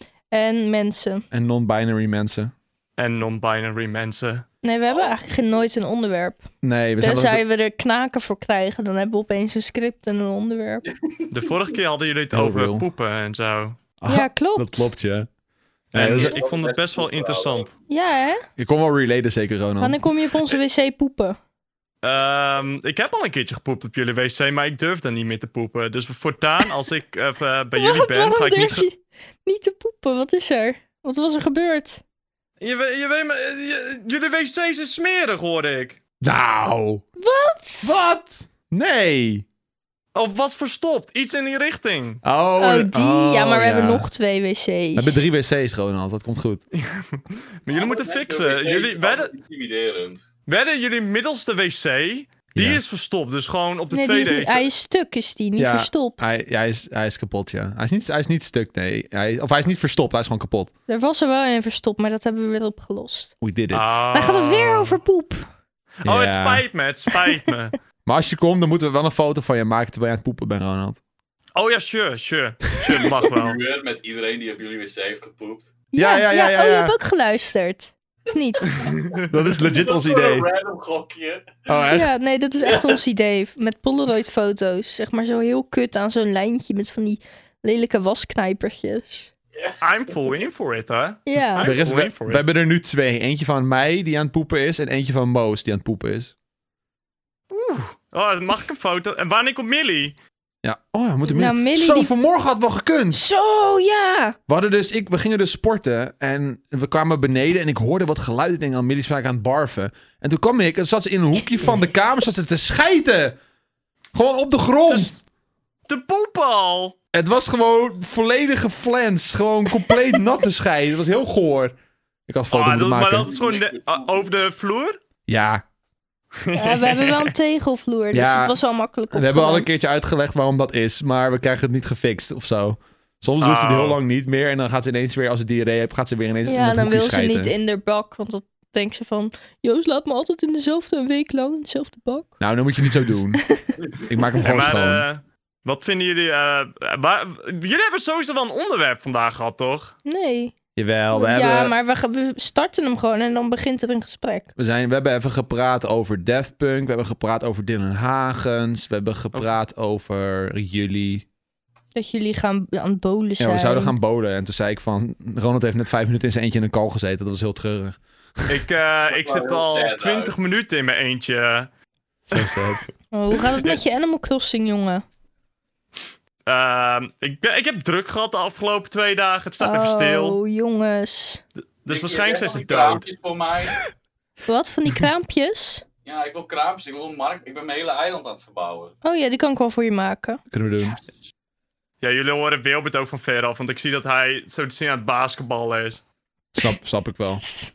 [SPEAKER 1] En mensen.
[SPEAKER 2] En non-binary mensen.
[SPEAKER 3] En non-binary mensen.
[SPEAKER 1] Nee, we hebben eigenlijk nooit een onderwerp.
[SPEAKER 2] Nee, we zijn altijd-
[SPEAKER 1] Tenzij we er knaken voor krijgen, dan hebben we opeens een script en een onderwerp.
[SPEAKER 3] De vorige keer hadden
[SPEAKER 1] *laughs*
[SPEAKER 3] jullie het
[SPEAKER 2] Heel
[SPEAKER 3] over
[SPEAKER 2] real.
[SPEAKER 3] poepen en zo.
[SPEAKER 2] Ah,
[SPEAKER 1] ja, klopt.
[SPEAKER 2] *laughs* Dat klopt, ja. Nee,
[SPEAKER 3] En
[SPEAKER 2] dat is-
[SPEAKER 3] ik vond het best wel interessant.
[SPEAKER 1] Ja, hè?
[SPEAKER 2] Je kon wel relaten, zeker, Ronald.
[SPEAKER 1] Wanneer kom je op onze wc poepen?
[SPEAKER 3] Ehm, ik heb al een keertje gepoept op jullie wc, maar ik durfde niet meer te poepen. Dus voortaan, als ik even bij jullie
[SPEAKER 1] Wat?
[SPEAKER 3] ben, ga
[SPEAKER 1] Waarom
[SPEAKER 3] ik niet...
[SPEAKER 1] durf
[SPEAKER 3] ge-
[SPEAKER 1] je niet te poepen? Wat is er? Wat was er gebeurd?
[SPEAKER 3] Je, we- je weet maar, eh, je- jullie wc's zijn smerig, hoorde ik.
[SPEAKER 2] Nou!
[SPEAKER 1] Wat?
[SPEAKER 2] Wat? Nee!
[SPEAKER 3] Of was verstopt, iets in die
[SPEAKER 2] *laughs*
[SPEAKER 3] richting.
[SPEAKER 2] Oh,
[SPEAKER 1] Oh, die.
[SPEAKER 2] oh,
[SPEAKER 1] ja, maar we hebben nog twee wc's.
[SPEAKER 2] We hebben drie wc's, Ronald. Dat komt goed.
[SPEAKER 3] Maar jullie moeten fixen. Jullie,
[SPEAKER 2] Oh.
[SPEAKER 3] werden,
[SPEAKER 4] Intimiderend.
[SPEAKER 3] werden jullie middelste wc, die
[SPEAKER 2] Ja.
[SPEAKER 3] is verstopt. Dus gewoon op de
[SPEAKER 1] nee, die is
[SPEAKER 3] tweede...
[SPEAKER 1] niet, hij is stuk, is die, niet
[SPEAKER 2] Ja,
[SPEAKER 1] verstopt.
[SPEAKER 2] Hij, hij, is, hij is kapot, ja. Hij is niet, hij is niet stuk, nee. Hij, of hij is niet verstopt, hij is gewoon kapot.
[SPEAKER 1] Er was er wel een verstopt, maar dat hebben we weer opgelost.
[SPEAKER 2] We did it.
[SPEAKER 3] Ah.
[SPEAKER 1] Daar gaat het weer over poep.
[SPEAKER 3] Oh, het
[SPEAKER 2] Ja.
[SPEAKER 3] spijt me, het spijt me.
[SPEAKER 2] Maar als je komt, dan moeten we wel een foto van je maken terwijl je aan het poepen bent, Ronald.
[SPEAKER 3] Oh ja, sure, sure. Sure, mag wel.
[SPEAKER 4] Uur met iedereen die op jullie wc heeft gepoept.
[SPEAKER 2] Ja, ja, ja, ja,
[SPEAKER 1] Oh, je
[SPEAKER 2] ja.
[SPEAKER 1] hebt ook geluisterd. Of
[SPEAKER 2] *laughs*
[SPEAKER 1] niet?
[SPEAKER 2] *laughs* Dat is legit ons
[SPEAKER 4] Wat voor
[SPEAKER 2] idee.
[SPEAKER 4] Een random gokje.
[SPEAKER 2] Oh, echt?
[SPEAKER 1] ja, nee, dat is echt ons idee. Met Polaroid-foto's. Zeg maar zo heel kut aan zo'n lijntje met van die lelijke wasknijpertjes.
[SPEAKER 3] I'm full in for it, hè.
[SPEAKER 1] Ja.
[SPEAKER 2] Er is,
[SPEAKER 3] I'm
[SPEAKER 2] we,
[SPEAKER 3] for
[SPEAKER 2] we
[SPEAKER 3] it.
[SPEAKER 2] hebben er nu twee. Eentje van mij, die aan het poepen is, en eentje van Moos, die aan het poepen is.
[SPEAKER 3] Oh, mag ik een foto? En wanneer komt Millie?
[SPEAKER 2] Ja, oh, we moeten
[SPEAKER 1] Nou, Millie
[SPEAKER 2] Zo,
[SPEAKER 1] die-
[SPEAKER 2] vanmorgen had wel gekund.
[SPEAKER 1] Zo, ja!
[SPEAKER 2] We, hadden dus, ik, we gingen dus sporten en we kwamen beneden en ik hoorde wat geluid. Ik denk aan Millie's vaak aan het barven. En toen kwam ik en zat ze in een hoekje van de kamer, zat ze te schijten. Gewoon op de grond.
[SPEAKER 3] Dus- De poep al!
[SPEAKER 2] Het was gewoon volledige flens. Gewoon compleet natte scheiden. Het was heel goor. Ik had foto
[SPEAKER 3] Ah,
[SPEAKER 2] moeten
[SPEAKER 3] dat, maar
[SPEAKER 2] maken.
[SPEAKER 3] dat is gewoon de- ah, over de vloer?
[SPEAKER 2] Ja,
[SPEAKER 1] Ja, we hebben
[SPEAKER 2] *laughs*
[SPEAKER 1] wel een tegelvloer, dus
[SPEAKER 2] Ja,
[SPEAKER 1] het was wel makkelijk
[SPEAKER 2] we hebben al een
[SPEAKER 1] opgeruimd.
[SPEAKER 2] keertje uitgelegd waarom dat is, maar we krijgen het niet gefixt of zo. Soms doet ze het
[SPEAKER 3] Oh.
[SPEAKER 2] heel lang niet meer en dan gaat ze ineens weer, als ze diarree heeft, gaat ze weer ineens in
[SPEAKER 1] Ja,
[SPEAKER 2] het
[SPEAKER 1] dan
[SPEAKER 2] hoekje
[SPEAKER 1] wil ze
[SPEAKER 2] schijten.
[SPEAKER 1] niet in de bak, want dan denkt ze van... Joost, laat me altijd in dezelfde een week lang in dezelfde bak.
[SPEAKER 2] Nou, dan moet je niet zo
[SPEAKER 1] *laughs*
[SPEAKER 2] doen. ik maak hem
[SPEAKER 3] Ja,
[SPEAKER 2] gewoon
[SPEAKER 3] maar
[SPEAKER 2] schoon.
[SPEAKER 3] eh, wat vinden jullie... eh, waar- jullie hebben sowieso wel een onderwerp vandaag gehad, toch?
[SPEAKER 1] Nee.
[SPEAKER 2] Jawel, Nou, we,
[SPEAKER 1] ja,
[SPEAKER 2] hebben,
[SPEAKER 1] maar we, gaan- we starten hem gewoon en dan begint er een gesprek.
[SPEAKER 2] we, zijn, we hebben even gepraat over Daft Punk. We hebben gepraat over Dylan Hagens. We hebben gepraat over jullie.
[SPEAKER 1] Dat jullie gaan aan het bolen zijn.
[SPEAKER 2] Ja, we zouden gaan bowlen. En toen zei ik van... Ronald heeft net vijf minuten in zijn eentje in een kal gezeten. Dat was heel treurig. *laughs*
[SPEAKER 3] Ik, eh, ik
[SPEAKER 4] wel
[SPEAKER 3] zit
[SPEAKER 4] heel sad
[SPEAKER 2] nou.
[SPEAKER 3] al
[SPEAKER 4] uit.
[SPEAKER 3] 20 minuten in mijn eentje.
[SPEAKER 2] Zo
[SPEAKER 1] *laughs*
[SPEAKER 2] sad.
[SPEAKER 1] Oh, hoe gaat het met je Animal Crossing, jongen?
[SPEAKER 3] Ehm, ik, ben- ik heb druk gehad de afgelopen twee dagen. Het staat even stil.
[SPEAKER 1] Oh, jongens.
[SPEAKER 3] Dus waarschijnlijk zijn
[SPEAKER 4] Denk
[SPEAKER 3] ze
[SPEAKER 4] je,
[SPEAKER 3] dood.
[SPEAKER 4] "Dit is voor mij.
[SPEAKER 1] Wat, van die kraampjes?
[SPEAKER 4] Ja, ik wil kraampjes, ik wil een markt. Ik ben mijn hele eiland aan het verbouwen.
[SPEAKER 1] Oh ja, die kan ik wel voor je maken.
[SPEAKER 2] Kunnen we doen.
[SPEAKER 3] Ja, jullie horen Wilbert ook van ver af, want ik zie dat hij zo te zien aan het basketballen is.
[SPEAKER 2] Snap, snap ik wel.
[SPEAKER 4] Dus-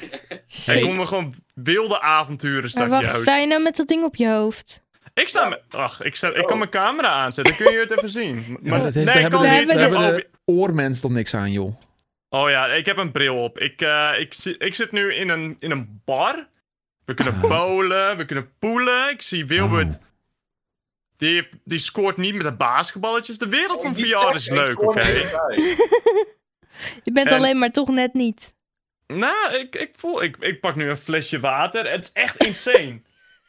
[SPEAKER 3] Hij
[SPEAKER 1] Shit.
[SPEAKER 3] komt me gewoon wilde avonturen
[SPEAKER 1] Maar
[SPEAKER 3] staan.
[SPEAKER 1] wacht,
[SPEAKER 3] juist.
[SPEAKER 1] sta je nou met dat ding op je hoofd?
[SPEAKER 3] Ik sta. me- Ach, ik, sta, ik kan mijn camera aanzetten. Kun je het even zien? Maar,
[SPEAKER 2] Maar Oh. dat
[SPEAKER 3] nee,
[SPEAKER 2] heeft, daar
[SPEAKER 3] ik kan
[SPEAKER 1] we
[SPEAKER 2] hebben,
[SPEAKER 3] niet.
[SPEAKER 2] de,
[SPEAKER 1] hebben
[SPEAKER 2] daar
[SPEAKER 3] Ik heb
[SPEAKER 2] hebben de
[SPEAKER 3] ook-
[SPEAKER 2] oormens toch niks aan, joh.
[SPEAKER 3] Oh ja, ik heb een bril op. Ik, eh, ik, zie- ik zit nu in een, in een bar. We kunnen
[SPEAKER 2] Ah.
[SPEAKER 3] bowlen, we kunnen poelen. Ik zie Wilbert.
[SPEAKER 2] Oh.
[SPEAKER 3] Die, die scoort niet met de basketballetjes. De wereld van VR is leuk, oké? *laughs*
[SPEAKER 1] Je bent
[SPEAKER 3] En-
[SPEAKER 1] alleen maar toch net niet.
[SPEAKER 3] Nou, ik, ik voel... Ik, ik pak nu een flesje water. Het is echt insane.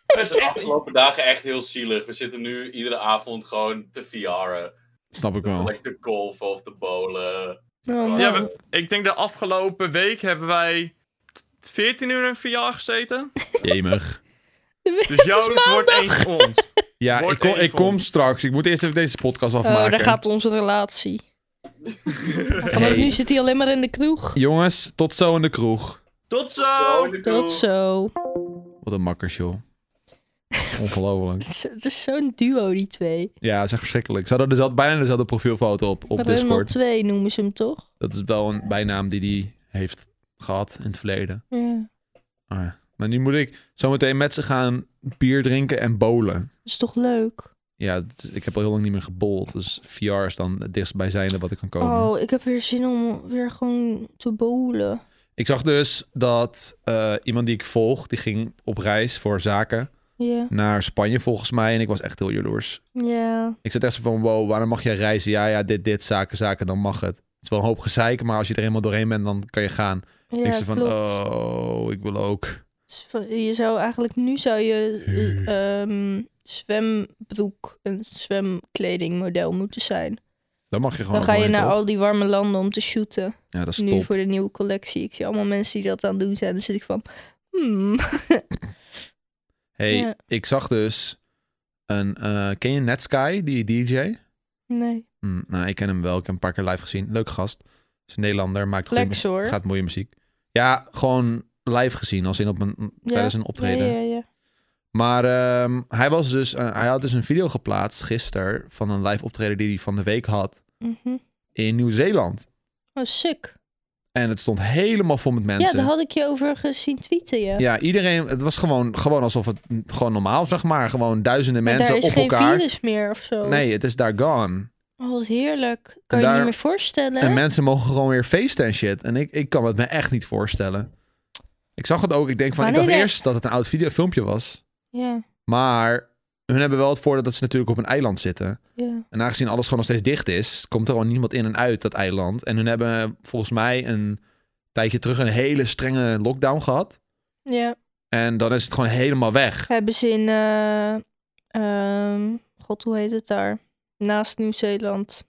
[SPEAKER 3] Het is
[SPEAKER 4] Het is de
[SPEAKER 3] echt...
[SPEAKER 4] afgelopen dagen echt heel zielig. We zitten nu iedere avond gewoon te VR'en.
[SPEAKER 2] Snap ik wel.
[SPEAKER 4] Like te golfen of te bowlen.
[SPEAKER 1] Oh,
[SPEAKER 3] Ja,
[SPEAKER 1] man.
[SPEAKER 3] we- ik denk de afgelopen week hebben wij... t- 14 uur in VR gezeten.
[SPEAKER 1] *laughs*
[SPEAKER 2] Jemig.
[SPEAKER 3] Dus jouw wordt één van ons.
[SPEAKER 2] Ja,
[SPEAKER 3] Wordt
[SPEAKER 2] ik kom, ik
[SPEAKER 3] even.
[SPEAKER 2] kom straks. Ik moet eerst even deze podcast afmaken.
[SPEAKER 1] Oh, daar gaat onze relatie. Vanaf
[SPEAKER 2] Hey.
[SPEAKER 1] nu zit hij alleen maar in de kroeg.
[SPEAKER 2] Jongens, tot zo in de kroeg.
[SPEAKER 3] Tot zo!
[SPEAKER 1] Tot zo.
[SPEAKER 2] Wat een makkers, joh. Ongelooflijk.
[SPEAKER 1] Het is, het is zo'n duo, die twee.
[SPEAKER 2] Ja, dat is echt verschrikkelijk. Ze hadden dezelfde, bijna dezelfde profielfoto op, op
[SPEAKER 1] Remel
[SPEAKER 2] Discord.
[SPEAKER 1] 2 noemen ze hem toch?
[SPEAKER 2] Dat is wel een bijnaam die hij heeft gehad in het verleden.
[SPEAKER 1] Ja.
[SPEAKER 2] Ah, ja. maar nu moet ik zometeen met ze gaan bier drinken en bowlen.
[SPEAKER 1] Dat is toch leuk?
[SPEAKER 2] Ja, het- ik heb al heel lang niet meer gebold. Dus VR is dan het dichtstbijzijnde wat ik kan komen.
[SPEAKER 1] Oh, ik heb weer zin om weer gewoon te bowlen.
[SPEAKER 2] Ik zag dus dat eh, iemand die ik volg, die ging op reis voor zaken
[SPEAKER 1] Ja.
[SPEAKER 2] naar Spanje volgens mij. En ik was echt heel jaloers.
[SPEAKER 1] Ja.
[SPEAKER 2] Ik zat echt zo van, wow, waarom mag jij reizen? Ja, ja, dit, dit, zaken, zaken, dan mag het. Het is wel een hoop gezeik, maar als je er helemaal doorheen bent, dan kan je gaan.
[SPEAKER 1] Ja,
[SPEAKER 2] ik zei van,
[SPEAKER 1] klopt.
[SPEAKER 2] oh, ik wil ook.
[SPEAKER 1] Dus van- Je zou eigenlijk nu zou je eh, ehm, zwembroek, een zwemkledingmodel moeten zijn.
[SPEAKER 2] Oh, Dan mag je gewoon
[SPEAKER 1] Dan ga je
[SPEAKER 2] doorheen,
[SPEAKER 1] naar
[SPEAKER 2] toch?
[SPEAKER 1] al die warme landen om te shooten.
[SPEAKER 2] Ja, dat is
[SPEAKER 1] nu
[SPEAKER 2] top.
[SPEAKER 1] voor de nieuwe collectie. Ik zie allemaal mensen die dat aan het doen zijn. Dan zit ik van, hmm.
[SPEAKER 2] hey,
[SPEAKER 1] Ja.
[SPEAKER 2] ik zag dus een... eh, ken je Netsky, die DJ?
[SPEAKER 1] Nee.
[SPEAKER 2] Hm, nou, ik ken hem wel. Ik heb hem een paar keer live gezien. Leuk gast. Is een Nederlander, maakt goede
[SPEAKER 1] Flex hoor.
[SPEAKER 2] Gaat mooie muziek. Ja, gewoon live gezien, als in op een, tijdens een optreden.
[SPEAKER 1] Ja, ja, ja.
[SPEAKER 2] Maar ehm, hij, was dus, eh, hij had dus een video geplaatst gisteren van een live optreden die hij van de week had
[SPEAKER 1] Mhm.
[SPEAKER 2] in Nieuw-Zeeland.
[SPEAKER 1] Oh, sick.
[SPEAKER 2] En het stond helemaal vol met
[SPEAKER 1] Ja,
[SPEAKER 2] mensen.
[SPEAKER 1] daar had ik je over gezien tweeten, ja.
[SPEAKER 2] Ja, iedereen, het was gewoon, gewoon alsof het n- gewoon normaal, zeg maar. Gewoon duizenden
[SPEAKER 1] Maar
[SPEAKER 2] mensen
[SPEAKER 1] daar is
[SPEAKER 2] op
[SPEAKER 1] geen
[SPEAKER 2] elkaar.
[SPEAKER 1] virus meer of zo.
[SPEAKER 2] Nee, het is daar gone.
[SPEAKER 1] Oh, wat heerlijk. Kan je
[SPEAKER 2] daar-
[SPEAKER 1] je niet meer voorstellen. hè?
[SPEAKER 2] En mensen mogen gewoon weer feesten en shit. En ik, ik kan het me echt niet voorstellen. Ik zag het ook. Ik denk van, ik
[SPEAKER 1] Wanneer
[SPEAKER 2] dacht
[SPEAKER 1] er-
[SPEAKER 2] eerst dat het een oud video, filmpje was.
[SPEAKER 1] Ja,
[SPEAKER 2] Maar hun hebben wel het voordeel dat ze natuurlijk op een eiland zitten.
[SPEAKER 1] ja.
[SPEAKER 2] En aangezien alles gewoon nog steeds dicht is, komt er gewoon niemand in en uit dat eiland. En hun hebben volgens mij een tijdje terug een hele strenge lockdown gehad.
[SPEAKER 1] Ja.
[SPEAKER 2] En dan is het gewoon helemaal weg.
[SPEAKER 1] Hebben ze in, eh, ehm, god, hoe heet het daar? Naast Nieuw-Zeeland.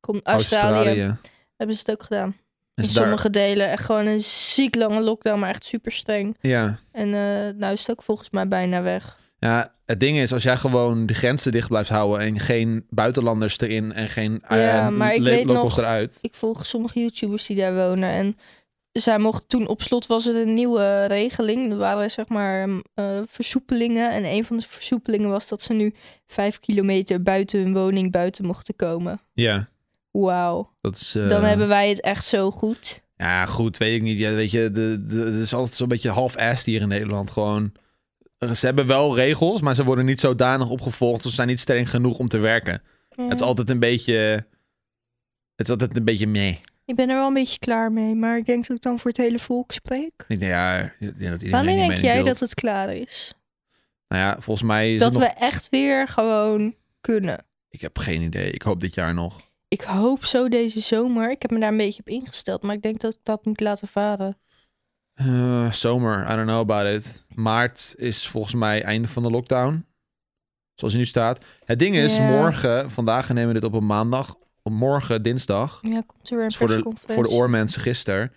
[SPEAKER 1] Komt Australië. Hebben ze het ook gedaan.
[SPEAKER 2] En
[SPEAKER 1] in
[SPEAKER 2] ze daar-
[SPEAKER 1] sommige delen echt gewoon een ziek lange lockdown, maar echt super streng.
[SPEAKER 2] ja.
[SPEAKER 1] En eh nou is het ook volgens mij bijna weg.
[SPEAKER 2] ja, het ding is, als jij gewoon de grenzen dicht blijft houden en geen buitenlanders erin en geen eh,
[SPEAKER 1] Ja, maar ik
[SPEAKER 2] le-
[SPEAKER 1] weet
[SPEAKER 2] locals
[SPEAKER 1] nog-
[SPEAKER 2] eruit.
[SPEAKER 1] Ik volg sommige YouTubers die daar wonen en zij mochten toen op slot was het een nieuwe regeling. Er waren zeg maar mm, eh, versoepelingen en een van de versoepelingen was dat ze nu vijf kilometer buiten hun woning buiten mochten komen.
[SPEAKER 2] Ja,
[SPEAKER 1] Wauw.
[SPEAKER 2] dat is... eh,
[SPEAKER 1] Dan hebben wij het echt zo goed.
[SPEAKER 2] Ja, goed, weet ik niet. Ja, weet je, de, de, het is altijd zo'n beetje half-assed hier in Nederland. Gewoon, eh, ze hebben wel regels, maar ze worden niet zodanig opgevolgd. Ze zijn niet streng genoeg om te werken. Het is altijd een beetje... Het is altijd een beetje meh.
[SPEAKER 1] Ik ben er wel een beetje klaar mee, maar ik denk dat ik dan voor het hele volk spreek.
[SPEAKER 2] Ik denk, ja, ja, dat iedereen
[SPEAKER 1] Wanneer
[SPEAKER 2] die
[SPEAKER 1] denk
[SPEAKER 2] mening
[SPEAKER 1] jij
[SPEAKER 2] deelt.
[SPEAKER 1] dat het klaar is?
[SPEAKER 2] Nou ja, volgens mij is
[SPEAKER 1] dat
[SPEAKER 2] het nog...
[SPEAKER 1] we echt weer gewoon kunnen.
[SPEAKER 2] Ik heb geen idee. Ik hoop dit jaar nog.
[SPEAKER 1] Ik hoop zo deze zomer. Ik heb me daar een beetje op ingesteld, maar ik denk dat ik dat moet laten varen.
[SPEAKER 2] Eh, zomer, I don't know about it. Maart is volgens mij einde van de lockdown. Zoals hij nu staat. Het ding is,
[SPEAKER 1] Ja.
[SPEAKER 2] morgen, vandaag nemen we dit op een maandag. Op morgen, dinsdag,
[SPEAKER 1] Ja, komt er weer een
[SPEAKER 2] dus voor, de,
[SPEAKER 1] persconferentie.
[SPEAKER 2] voor de oormensen gisteren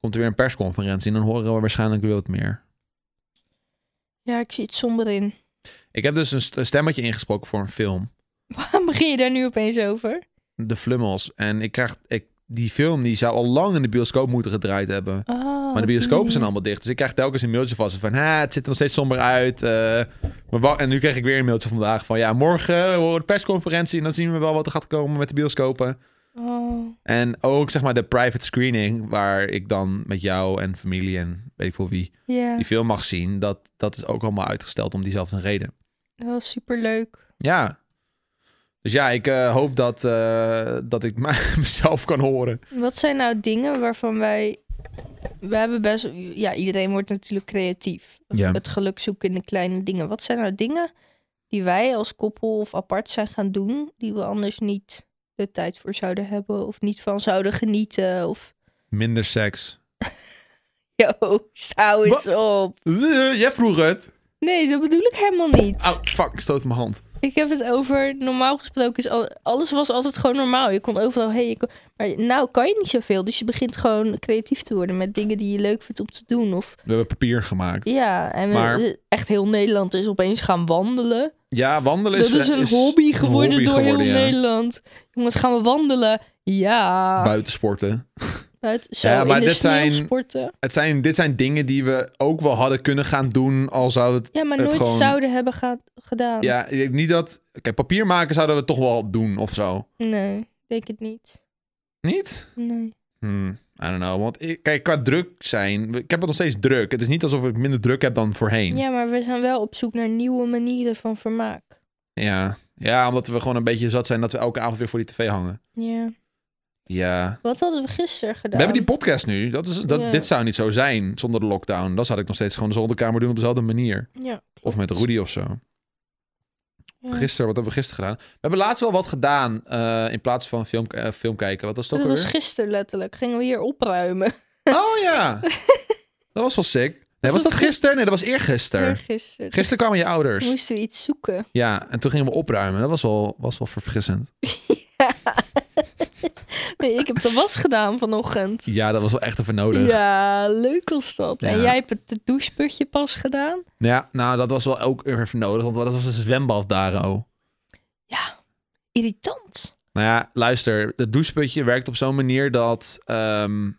[SPEAKER 2] komt er weer een persconferentie. En dan horen we waarschijnlijk weer wat meer.
[SPEAKER 1] Ja, ik zie het somber in. *laughs*
[SPEAKER 2] Ik heb dus een st- een stemmetje ingesproken voor een film.
[SPEAKER 1] Waarom begin je daar nu opeens over?
[SPEAKER 2] De Flummels. En ik krijg... Ik, die film die zou al lang in de bioscoop moeten gedraaid hebben.
[SPEAKER 1] Ah.
[SPEAKER 2] Maar de bioscopen zijn allemaal dicht. Dus ik krijg telkens een mailtje van ze van... "Ah, het ziet er nog steeds somber uit. eh, maar wa- en nu kreeg ik weer een mailtje vandaag van... Ja, morgen horen we de persconferentie... en dan zien we wel wat er gaat komen met de bioscopen.
[SPEAKER 1] Oh,
[SPEAKER 2] En ook zeg maar de private screening... waar ik dan met jou en familie en weet ik veel wie...
[SPEAKER 1] ja.
[SPEAKER 2] die film mag zien. Dat, dat is ook allemaal uitgesteld om diezelfde reden.
[SPEAKER 1] Wel Oh, superleuk.
[SPEAKER 2] Ja. Dus ja, ik eh, hoop dat, eh, dat ik *laughs* mezelf kan horen.
[SPEAKER 1] Wat zijn nou dingen waarvan wij... We hebben best... Ja, iedereen wordt natuurlijk creatief.
[SPEAKER 2] Ja.
[SPEAKER 1] Het geluk zoeken in de kleine dingen. Wat zijn nou dingen die wij als koppel of apart zijn gaan doen... die we anders niet de tijd voor zouden hebben... of niet van zouden genieten? Of...
[SPEAKER 2] Minder seks.
[SPEAKER 1] *laughs* Yo, zou eens op.
[SPEAKER 2] Eh, Jij vroeg het.
[SPEAKER 1] Nee, dat bedoel ik helemaal niet.
[SPEAKER 2] Oh, fuck, ik stoot mijn hand.
[SPEAKER 1] Ik heb het over, normaal gesproken is al- alles was altijd gewoon normaal. Je kon overal heen. je kon- maar nou kan je niet zoveel. Dus je begint gewoon creatief te worden met dingen die je leuk vindt om te doen. Of
[SPEAKER 2] We hebben papier gemaakt.
[SPEAKER 1] ja, en we-
[SPEAKER 2] Maar-
[SPEAKER 1] echt heel Nederland is opeens gaan wandelen.
[SPEAKER 2] Ja, wandelen is...
[SPEAKER 1] dat is een hobby geworden door heel
[SPEAKER 2] ja.
[SPEAKER 1] Nederland. Jongens, gaan we wandelen? Ja.
[SPEAKER 2] Buitensporten.
[SPEAKER 1] Buiten, zo,
[SPEAKER 2] Ja,
[SPEAKER 1] in
[SPEAKER 2] maar
[SPEAKER 1] de
[SPEAKER 2] dit
[SPEAKER 1] sneeuw
[SPEAKER 2] zijn-
[SPEAKER 1] sporten.
[SPEAKER 2] Het zijn, dit zijn dingen die we ook wel hadden kunnen gaan doen al zou het...
[SPEAKER 1] Ja, maar
[SPEAKER 2] het
[SPEAKER 1] nooit
[SPEAKER 2] gewoon-
[SPEAKER 1] zouden hebben ga- gedaan.
[SPEAKER 2] Ja, ik denk niet dat... Kijk, papier maken zouden we toch wel doen of zo.
[SPEAKER 1] Nee, denk het niet.
[SPEAKER 2] Niet?
[SPEAKER 1] Nee.
[SPEAKER 2] Hmm, I don't know. Want ik, kijk, qua druk zijn. Ik heb het nog steeds druk. Het is niet alsof ik minder druk heb dan voorheen.
[SPEAKER 1] Ja, maar we zijn wel op zoek naar nieuwe manieren van vermaak.
[SPEAKER 2] Ja. Ja, omdat we gewoon een beetje zat zijn dat we elke avond weer voor die tv hangen.
[SPEAKER 1] Ja.
[SPEAKER 2] Ja.
[SPEAKER 1] Wat hadden we gisteren
[SPEAKER 2] We
[SPEAKER 1] gedaan?
[SPEAKER 2] hebben die podcast nu. Dat is, dat,
[SPEAKER 1] Ja.
[SPEAKER 2] Dit zou niet zo zijn zonder de lockdown. Dan zou ik nog steeds gewoon de zolderkamer doen op dezelfde manier.
[SPEAKER 1] Ja,
[SPEAKER 2] Of met Rudy of zo.
[SPEAKER 1] ja.
[SPEAKER 2] Mm. Gisteren, wat hebben we gisteren gedaan? We hebben laatst wel wat gedaan eh, in plaats van film, eh, film kijken. Wat was dat
[SPEAKER 1] Dat
[SPEAKER 2] ook
[SPEAKER 1] was
[SPEAKER 2] alweer?
[SPEAKER 1] gisteren letterlijk. Gingen we hier opruimen.
[SPEAKER 2] Oh
[SPEAKER 1] *laughs*
[SPEAKER 2] ja! dat was wel sick. Nee, was
[SPEAKER 1] dat
[SPEAKER 2] dat gisteren? Nee, dat was
[SPEAKER 1] *laughs*
[SPEAKER 2] eergisteren.
[SPEAKER 1] Gisteren.
[SPEAKER 2] Gisteren kwamen je ouders.
[SPEAKER 1] Toen moesten we iets zoeken.
[SPEAKER 2] Ja, en toen gingen we opruimen. Dat was wel, was wel verfrissend.
[SPEAKER 1] Nee, ik heb de
[SPEAKER 2] *laughs*
[SPEAKER 1] was gedaan vanochtend.
[SPEAKER 2] Ja, dat was wel echt even nodig. Ja.
[SPEAKER 1] Ja, leuk was dat. En
[SPEAKER 2] Ja.
[SPEAKER 1] jij hebt het doucheputje pas gedaan?
[SPEAKER 2] nou, dat was wel ook even nodig, want dat was een zwembad daar al.
[SPEAKER 1] Irritant.
[SPEAKER 2] Nou ja, luister, het doucheputje werkt op zo'n manier dat, ehm,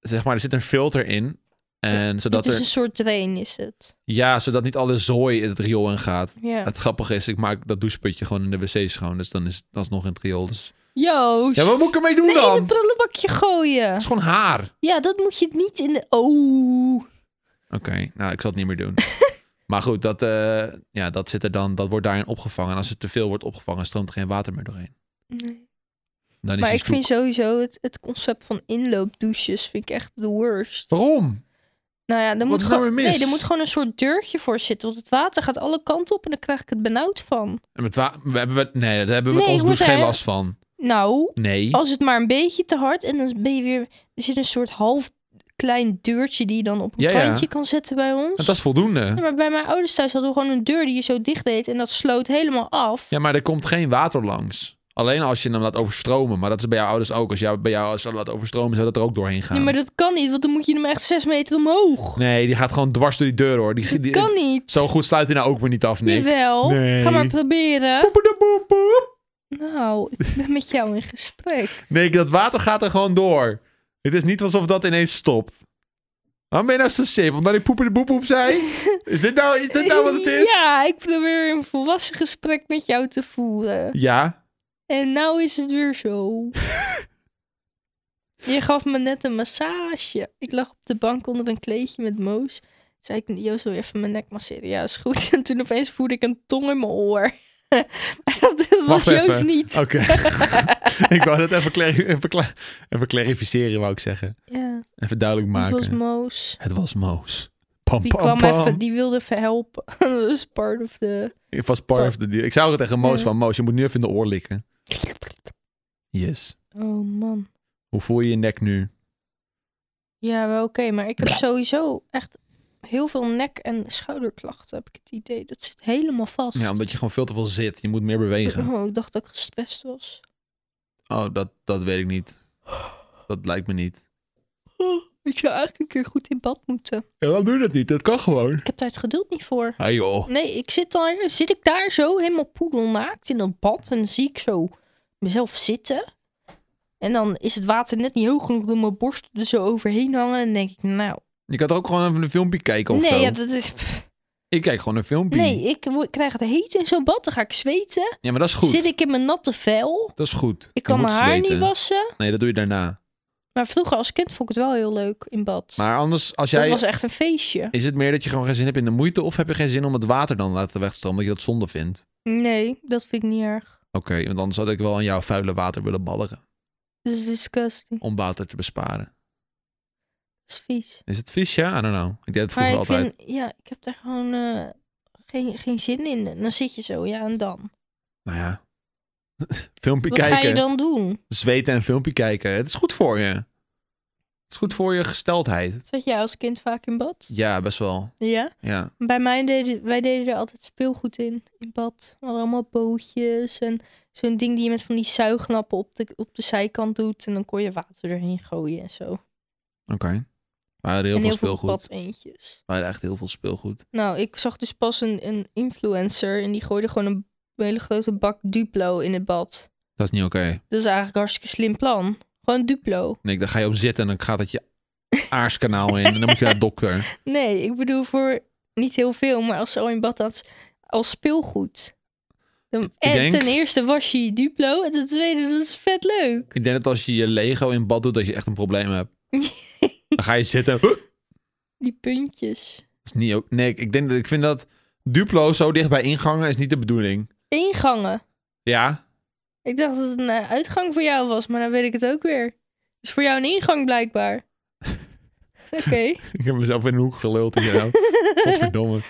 [SPEAKER 2] zeg maar, er zit een filter in. En zodat
[SPEAKER 1] het is
[SPEAKER 2] er,
[SPEAKER 1] een soort drain, is het.
[SPEAKER 2] ja, zodat niet alle zooi het riool in gaat.
[SPEAKER 1] Ja.
[SPEAKER 2] Het grappige is, ik maak dat doucheputje gewoon in de wc schoon, dus dan is het alsnog in het riool. Dus...
[SPEAKER 1] Joost.
[SPEAKER 2] Ja, wat moet ik ermee doen
[SPEAKER 1] Nee,
[SPEAKER 2] dan?
[SPEAKER 1] in het prullenbakje gooien.
[SPEAKER 2] Het is gewoon haar.
[SPEAKER 1] Ja, dat moet je niet in de... Oh.
[SPEAKER 2] Oké, nou, ik zal het niet meer
[SPEAKER 1] *laughs*
[SPEAKER 2] doen. maar goed, dat, eh, ja, dat, zit er dan, dat wordt daarin opgevangen. En als het te veel wordt opgevangen, stroomt er geen water meer doorheen.
[SPEAKER 1] Nee.
[SPEAKER 2] Dan is
[SPEAKER 1] Maar
[SPEAKER 2] die
[SPEAKER 1] ik vind
[SPEAKER 2] stoep-
[SPEAKER 1] sowieso het, het concept van inloopdouches vind ik echt de worst.
[SPEAKER 2] Waarom?
[SPEAKER 1] Nou ja, er
[SPEAKER 2] Wat
[SPEAKER 1] moet,
[SPEAKER 2] is nou
[SPEAKER 1] gewoon,
[SPEAKER 2] weer mis?
[SPEAKER 1] nee, er moet gewoon een soort deurtje voor zitten. Want het water gaat alle kanten op en dan krijg ik het benauwd van.
[SPEAKER 2] En Met wa- we hebben we, nee, daar hebben we
[SPEAKER 1] Nee,
[SPEAKER 2] met ons
[SPEAKER 1] hoe
[SPEAKER 2] douche geen
[SPEAKER 1] zei-
[SPEAKER 2] last van.
[SPEAKER 1] Nou,
[SPEAKER 2] Nee.
[SPEAKER 1] als het maar een beetje te hard en dan ben je weer... Er zit een soort half klein deurtje die je dan op een
[SPEAKER 2] Ja, ja.
[SPEAKER 1] kantje kan zetten bij ons.
[SPEAKER 2] Dat is
[SPEAKER 1] Ja,
[SPEAKER 2] voldoende.
[SPEAKER 1] maar bij mijn ouders thuis hadden we gewoon een deur die je zo dicht deed en dat sloot helemaal af.
[SPEAKER 2] Ja, maar er komt geen water langs. Alleen als je hem laat overstromen. Maar dat is bij jouw ouders ook. Als jij bij jou als je laat overstromen, zou dat er ook doorheen gaan.
[SPEAKER 1] Nee, maar dat kan niet, want dan moet je hem echt zes meter omhoog.
[SPEAKER 2] Nee, die gaat gewoon dwars door die deur hoor. Die,
[SPEAKER 1] Dat
[SPEAKER 2] die-
[SPEAKER 1] kan niet.
[SPEAKER 2] Zo goed sluit hij nou ook weer niet af, Nick.
[SPEAKER 1] Jawel,
[SPEAKER 2] Nee.
[SPEAKER 1] ga maar proberen.
[SPEAKER 2] Poepedapoepoep.
[SPEAKER 1] Nou, ik ben met jou in
[SPEAKER 2] *laughs*
[SPEAKER 1] gesprek.
[SPEAKER 2] Nee, dat water gaat er gewoon door. Het is niet alsof dat ineens stopt. Waarom ben je nou zo simpel? Omdat ik poepen de boep op zei? Is dit nou, is dit nou wat
[SPEAKER 1] *laughs*
[SPEAKER 2] het is?
[SPEAKER 1] Ja, ik probeer een volwassen gesprek met jou te voeren.
[SPEAKER 2] Ja.
[SPEAKER 1] En nou is het weer
[SPEAKER 2] *laughs*
[SPEAKER 1] zo. Je gaf me net een massage. Ik lag op de bank onder een kleedje met Moos. Toen zei ik, Joost wil je even mijn nek masseren? Ja, is goed. *laughs* En toen opeens voelde ik een tong in mijn oor. *laughs* Maar dat was
[SPEAKER 2] Wacht
[SPEAKER 1] Joost
[SPEAKER 2] even. Oh.
[SPEAKER 1] niet.
[SPEAKER 2] Oké. *laughs* ik wou dat even, clari- even, cla- even clarificeren, wou ik zeggen.
[SPEAKER 1] Ja,
[SPEAKER 2] Even duidelijk
[SPEAKER 1] dat
[SPEAKER 2] maken.
[SPEAKER 1] was Moos.
[SPEAKER 2] Het was Moos. Pam,
[SPEAKER 1] Die
[SPEAKER 2] pam,
[SPEAKER 1] kwam
[SPEAKER 2] pam.
[SPEAKER 1] even, die wilde even helpen. *laughs* Dat is part of the...
[SPEAKER 2] Ik was part of the deal. Ik zou het tegen Moos
[SPEAKER 1] Ja.
[SPEAKER 2] van, Moos, je moet nu even in de oor likken. Yes.
[SPEAKER 1] Oh man.
[SPEAKER 2] Hoe voel je je nek nu?
[SPEAKER 1] Ja, wel oké, maar ik heb sowieso echt heel veel nek- en schouderklachten, heb ik het idee. Dat zit helemaal vast.
[SPEAKER 2] Ja, omdat je gewoon veel te veel zit. Je moet meer bewegen.
[SPEAKER 1] Oh, ik dacht dat ik gestrest was.
[SPEAKER 2] Oh, dat, dat weet ik niet. Dat lijkt me niet.
[SPEAKER 1] Oh, ik zou eigenlijk een keer goed in bad moeten.
[SPEAKER 2] Ja, waarom doe je dat niet? Dat kan gewoon.
[SPEAKER 1] Ik heb daar het geduld niet voor.
[SPEAKER 2] Hey joh.
[SPEAKER 1] Nee, ik zit, daar, zit ik daar zo helemaal poedelnaakt in dat bad en dan zie ik zo mezelf zitten. En dan is het water net niet hoog genoeg door mijn borst er zo overheen hangen. En dan denk ik, nou.
[SPEAKER 2] Je kan toch ook gewoon even een filmpje kijken of
[SPEAKER 1] nee,
[SPEAKER 2] zo?
[SPEAKER 1] ja, dat is, pff.
[SPEAKER 2] Ik kijk gewoon een filmpje.
[SPEAKER 1] nee, ik wo- krijg het heet in zo'n bad. Dan ga ik zweten.
[SPEAKER 2] Ja, maar dat is goed.
[SPEAKER 1] Zit ik in mijn natte vel.
[SPEAKER 2] Dat is goed. Je
[SPEAKER 1] Ik kan
[SPEAKER 2] moet
[SPEAKER 1] mijn haar
[SPEAKER 2] zweten.
[SPEAKER 1] niet wassen.
[SPEAKER 2] Nee, dat doe je daarna.
[SPEAKER 1] Maar vroeger als kind vond ik het wel heel leuk in bad.
[SPEAKER 2] Maar anders, als
[SPEAKER 1] dat
[SPEAKER 2] jij...
[SPEAKER 1] was echt een feestje.
[SPEAKER 2] Is het meer dat je gewoon geen zin hebt in de moeite... of heb je geen zin om het water dan te laten wegstromen... omdat je dat zonde vindt?
[SPEAKER 1] Nee, dat vind ik niet erg.
[SPEAKER 2] Oké, want anders had ik wel aan jouw vuile water willen balleren.
[SPEAKER 1] Dat is disgusting.
[SPEAKER 2] Om water te besparen.
[SPEAKER 1] Dat is vies.
[SPEAKER 2] Is het vies, ja? I don't know. Ik deed het
[SPEAKER 1] Maar
[SPEAKER 2] vroeger
[SPEAKER 1] ik
[SPEAKER 2] altijd.
[SPEAKER 1] vind, ja, ik heb daar gewoon eh, geen, geen zin in. En dan zit je zo, ja, en dan?
[SPEAKER 2] Nou ja. *laughs* filmpje
[SPEAKER 1] Wat
[SPEAKER 2] kijken.
[SPEAKER 1] ga je dan doen?
[SPEAKER 2] Zweten en filmpje kijken. Het is goed voor je. Het is goed voor je gesteldheid.
[SPEAKER 1] Zat jij als kind vaak in bad?
[SPEAKER 2] Ja, best wel.
[SPEAKER 1] Ja.
[SPEAKER 2] Ja.
[SPEAKER 1] Bij mij deden, wij deden er altijd speelgoed in, in bad. We hadden allemaal bootjes en zo'n ding die je met van die zuignappen op de, op de zijkant doet. En dan kon je water erheen gooien en zo.
[SPEAKER 2] Oké. We hadden heel
[SPEAKER 1] en
[SPEAKER 2] veel
[SPEAKER 1] heel veel
[SPEAKER 2] speelgoed.
[SPEAKER 1] badeentjes.
[SPEAKER 2] We hadden echt heel veel speelgoed.
[SPEAKER 1] Nou, ik zag dus pas een, een influencer en die gooide gewoon een hele grote bak Duplo in het bad.
[SPEAKER 2] Dat is niet oké.
[SPEAKER 1] Dat is eigenlijk een hartstikke slim plan. Gewoon Duplo.
[SPEAKER 2] Nee, dan ga je op zitten en dan gaat het je aarskanaal in. En dan moet je naar de dokter.
[SPEAKER 1] Nee, ik bedoel voor niet heel veel, maar als ze al in bad had, als, als speelgoed. Dan, en
[SPEAKER 2] denk-
[SPEAKER 1] ten eerste was je Duplo en ten tweede, dat is vet leuk.
[SPEAKER 2] Ik denk dat als je je Lego in bad doet, dat je echt een probleem hebt. Dan ga je zitten.
[SPEAKER 1] Die puntjes.
[SPEAKER 2] Dat is niet ook. Nee, ik- ik denk dat ik vind dat Duplo zo dicht bij ingangen is niet de bedoeling.
[SPEAKER 1] Ingangen.
[SPEAKER 2] Ja,
[SPEAKER 1] Ik dacht dat het een eh, uitgang voor jou was, maar dan weet ik het ook weer. Dus voor jou een ingang blijkbaar. Oké.
[SPEAKER 2] ik heb mezelf in een hoek geluld hier. nou. Godverdomme.